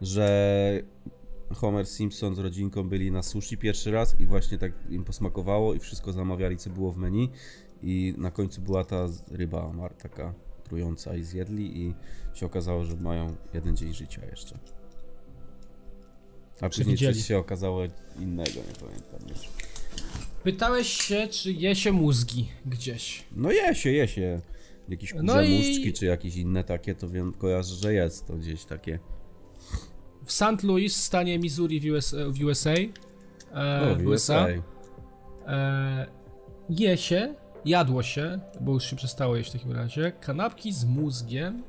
[SPEAKER 2] że Homer Simpson z rodzinką byli na sushi pierwszy raz i właśnie tak im posmakowało i wszystko zamawiali, co było w menu i na końcu była ta z- ryba mar taka trująca i zjedli i się okazało, że mają jeden dzień życia jeszcze. A później
[SPEAKER 1] Przewidzieli.
[SPEAKER 2] coś się okazało innego, nie pamiętam już.
[SPEAKER 1] Pytałeś się, czy je się mózgi gdzieś.
[SPEAKER 2] No je się, je się. Jakieś kurze
[SPEAKER 1] No i-
[SPEAKER 2] muszczki czy jakieś inne takie, to wiem, kojarzę, że jest to gdzieś takie.
[SPEAKER 1] W St. Louis, w stanie Missouri w USA, w USA,
[SPEAKER 2] No,
[SPEAKER 1] e, w USA E, je się, jadło się, bo już się przestało jeść w takim razie, kanapki z mózgiem.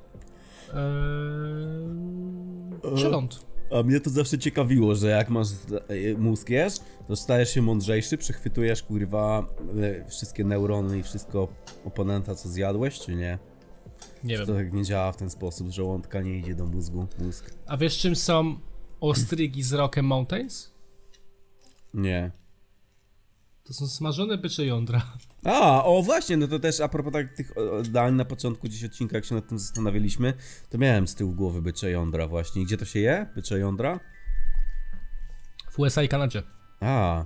[SPEAKER 1] E, przeląd.
[SPEAKER 2] A mnie to zawsze ciekawiło, że jak masz e, mózg jesz, to stajesz się mądrzejszy, przechwytujesz kurwa e, wszystkie neurony i wszystko oponenta, co zjadłeś, czy nie?
[SPEAKER 1] Nie
[SPEAKER 2] To
[SPEAKER 1] wiem.
[SPEAKER 2] tak nie działa w ten sposób, że łądka nie idzie do mózgu, mózg.
[SPEAKER 1] A wiesz czym są ostrygi z Rocky Mountains?
[SPEAKER 2] Nie.
[SPEAKER 1] To są smażone bycze jądra.
[SPEAKER 2] A, o właśnie, no to też a propos tak, tych o, o, dań na początku gdzieś odcinka, jak się nad tym zastanawialiśmy, to miałem z tyłu głowy bycze jądra właśnie. I Gdzie to się je? Bycze jądra?
[SPEAKER 1] W USA i Kanadzie.
[SPEAKER 2] A,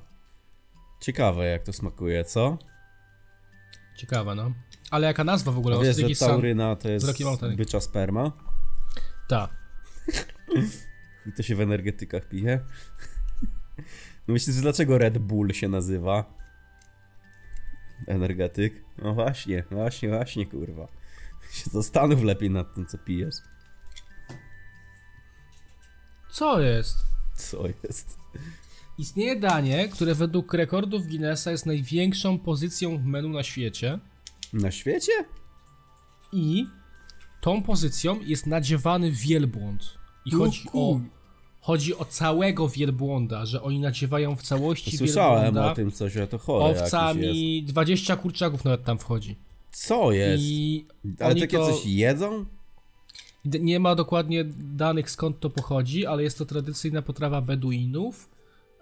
[SPEAKER 2] ciekawe jak to smakuje, co?
[SPEAKER 1] Ciekawe, no. Ale jaka nazwa w ogóle?
[SPEAKER 2] A wiesz,
[SPEAKER 1] ostrygi
[SPEAKER 2] że
[SPEAKER 1] są...
[SPEAKER 2] tauryna to jest
[SPEAKER 1] Rocky Mountain.
[SPEAKER 2] bycza sperma?
[SPEAKER 1] Ta.
[SPEAKER 2] I to się w energetykach pije. No myślisz, że dlaczego Red Bull się nazywa? Energetyk? No właśnie, właśnie, właśnie, kurwa. Się zastanów lepiej nad tym, co pijesz.
[SPEAKER 1] Co jest?
[SPEAKER 2] Co jest?
[SPEAKER 1] Istnieje danie, które według rekordów Guinnessa jest największą pozycją w menu na świecie.
[SPEAKER 2] Na świecie?
[SPEAKER 1] I tą pozycją jest nadziewany wielbłąd. I chodzi
[SPEAKER 2] O
[SPEAKER 1] o,
[SPEAKER 2] kur-
[SPEAKER 1] chodzi o całego wielbłąda, że oni nadziewają w całości
[SPEAKER 2] Słyszałem
[SPEAKER 1] wielbłąda
[SPEAKER 2] o tym coś, ale to chore jakieś jest.
[SPEAKER 1] owcami, 20 kurczaków nawet tam wchodzi.
[SPEAKER 2] Co jest?
[SPEAKER 1] I
[SPEAKER 2] Ale
[SPEAKER 1] oni
[SPEAKER 2] takie
[SPEAKER 1] to-
[SPEAKER 2] coś jedzą?
[SPEAKER 1] D- Nie ma dokładnie danych skąd to pochodzi, ale jest to tradycyjna potrawa Beduinów.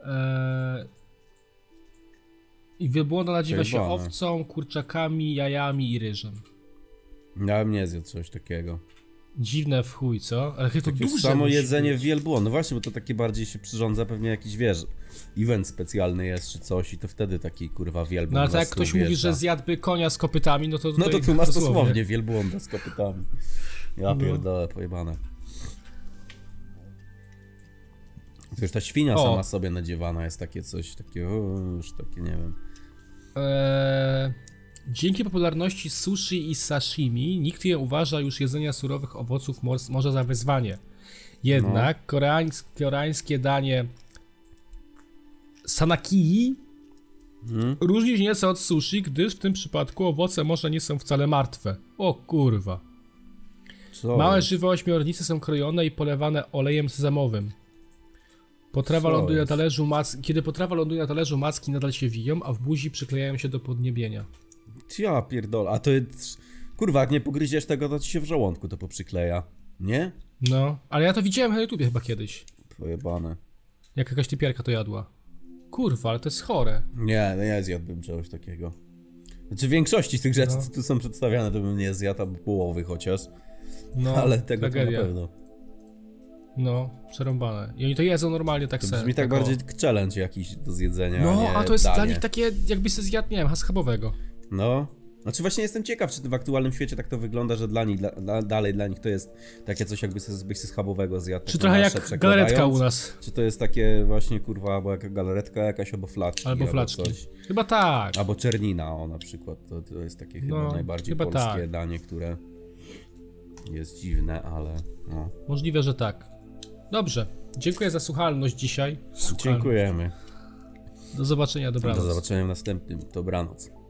[SPEAKER 1] Eee... I wielbłąda nadziewa się
[SPEAKER 2] Pojebane.
[SPEAKER 1] owcą, kurczakami, jajami i ryżem.
[SPEAKER 2] Ja bym nie zjadł coś takiego.
[SPEAKER 1] Dziwne w chuj, co? Ale chyba to
[SPEAKER 2] Takie
[SPEAKER 1] duże
[SPEAKER 2] samo
[SPEAKER 1] musi
[SPEAKER 2] jedzenie
[SPEAKER 1] być.
[SPEAKER 2] wielbłąd. No właśnie, bo to takie bardziej się przyrządza pewnie jakiś, wiesz, event specjalny jest czy coś i to wtedy taki kurwa wielbłąd
[SPEAKER 1] No ale
[SPEAKER 2] na
[SPEAKER 1] tak jak
[SPEAKER 2] stół
[SPEAKER 1] ktoś mówi,
[SPEAKER 2] wjeżdża.
[SPEAKER 1] że zjadłby konia z kopytami, no to
[SPEAKER 2] No to
[SPEAKER 1] tutaj
[SPEAKER 2] tu masz dosłownie wielbłąda z kopytami. Ja
[SPEAKER 1] No.
[SPEAKER 2] pierdolę, pojebane. To już ta świnia
[SPEAKER 1] O.
[SPEAKER 2] sama sobie nadziewana jest takie coś, takie o, już takie, nie wiem.
[SPEAKER 1] Eee, dzięki popularności sushi i sashimi, nikt nie uważa już jedzenia surowych owoców mors- morza za wyzwanie. Jednak
[SPEAKER 2] No.
[SPEAKER 1] koreańs- koreańskie danie sanakii
[SPEAKER 2] Mhm.
[SPEAKER 1] różni się nieco od sushi, gdyż w tym przypadku owoce morza nie są wcale martwe. O kurwa.
[SPEAKER 2] Co?
[SPEAKER 1] Małe żywe ośmiornice są krojone i polewane olejem sezamowym. Potrawa
[SPEAKER 2] Co
[SPEAKER 1] ląduje na
[SPEAKER 2] jest?
[SPEAKER 1] talerzu mac- Kiedy potrawa ląduje na talerzu, macki nadal się wiją, a w buzi przyklejają się do podniebienia.
[SPEAKER 2] Ja pierdolę, a to jest... Kurwa, jak nie pogryziesz tego, to ci się w żołądku to poprzykleja. Nie?
[SPEAKER 1] No, ale ja to widziałem na YouTubie chyba kiedyś.
[SPEAKER 2] Pojebane.
[SPEAKER 1] Jak jakaś typiarka to jadła. Kurwa, ale to jest chore.
[SPEAKER 2] Nie, no nie zjadłbym czegoś takiego. Znaczy w większości z tych rzeczy, co tu są przedstawiane, to bym nie zjadł, albo połowy chociaż.
[SPEAKER 1] No,
[SPEAKER 2] ale tego to na
[SPEAKER 1] tragedia.
[SPEAKER 2] pewno.
[SPEAKER 1] No, przerąbane. I oni to jedzą normalnie tak
[SPEAKER 2] To
[SPEAKER 1] sobie.
[SPEAKER 2] brzmi tak
[SPEAKER 1] o.
[SPEAKER 2] bardziej challenge jakiś do zjedzenia.
[SPEAKER 1] No,
[SPEAKER 2] nie
[SPEAKER 1] a to jest
[SPEAKER 2] danie.
[SPEAKER 1] dla nich takie, jakby se zjadł, nie wiem, haskabowego.
[SPEAKER 2] No. Znaczy właśnie jestem ciekaw, czy w aktualnym świecie tak to wygląda, że dla nich, dla, dla, dalej dla nich to jest takie coś jakby se- zbyś ze schabowego zjadł.
[SPEAKER 1] Czy
[SPEAKER 2] taką
[SPEAKER 1] trochę
[SPEAKER 2] naszę
[SPEAKER 1] jak galaretka
[SPEAKER 2] przekładając.
[SPEAKER 1] u nas.
[SPEAKER 2] Czy to jest takie właśnie kurwa, albo jaka galaretka jakaś, albo flaczki.
[SPEAKER 1] Albo flaczki.
[SPEAKER 2] Coś.
[SPEAKER 1] Chyba tak.
[SPEAKER 2] Albo czernina, o na przykład. To, to jest takie chyba
[SPEAKER 1] No,
[SPEAKER 2] najbardziej
[SPEAKER 1] chyba
[SPEAKER 2] polskie
[SPEAKER 1] tak.
[SPEAKER 2] danie, które jest dziwne, ale. No.
[SPEAKER 1] Możliwe, że tak. Dobrze. Dziękuję za słuchalność dzisiaj. Słuchalność.
[SPEAKER 2] Dziękujemy.
[SPEAKER 1] Do zobaczenia,
[SPEAKER 2] Do
[SPEAKER 1] dobranoc.
[SPEAKER 2] zobaczenia w następnym. Dobranoc.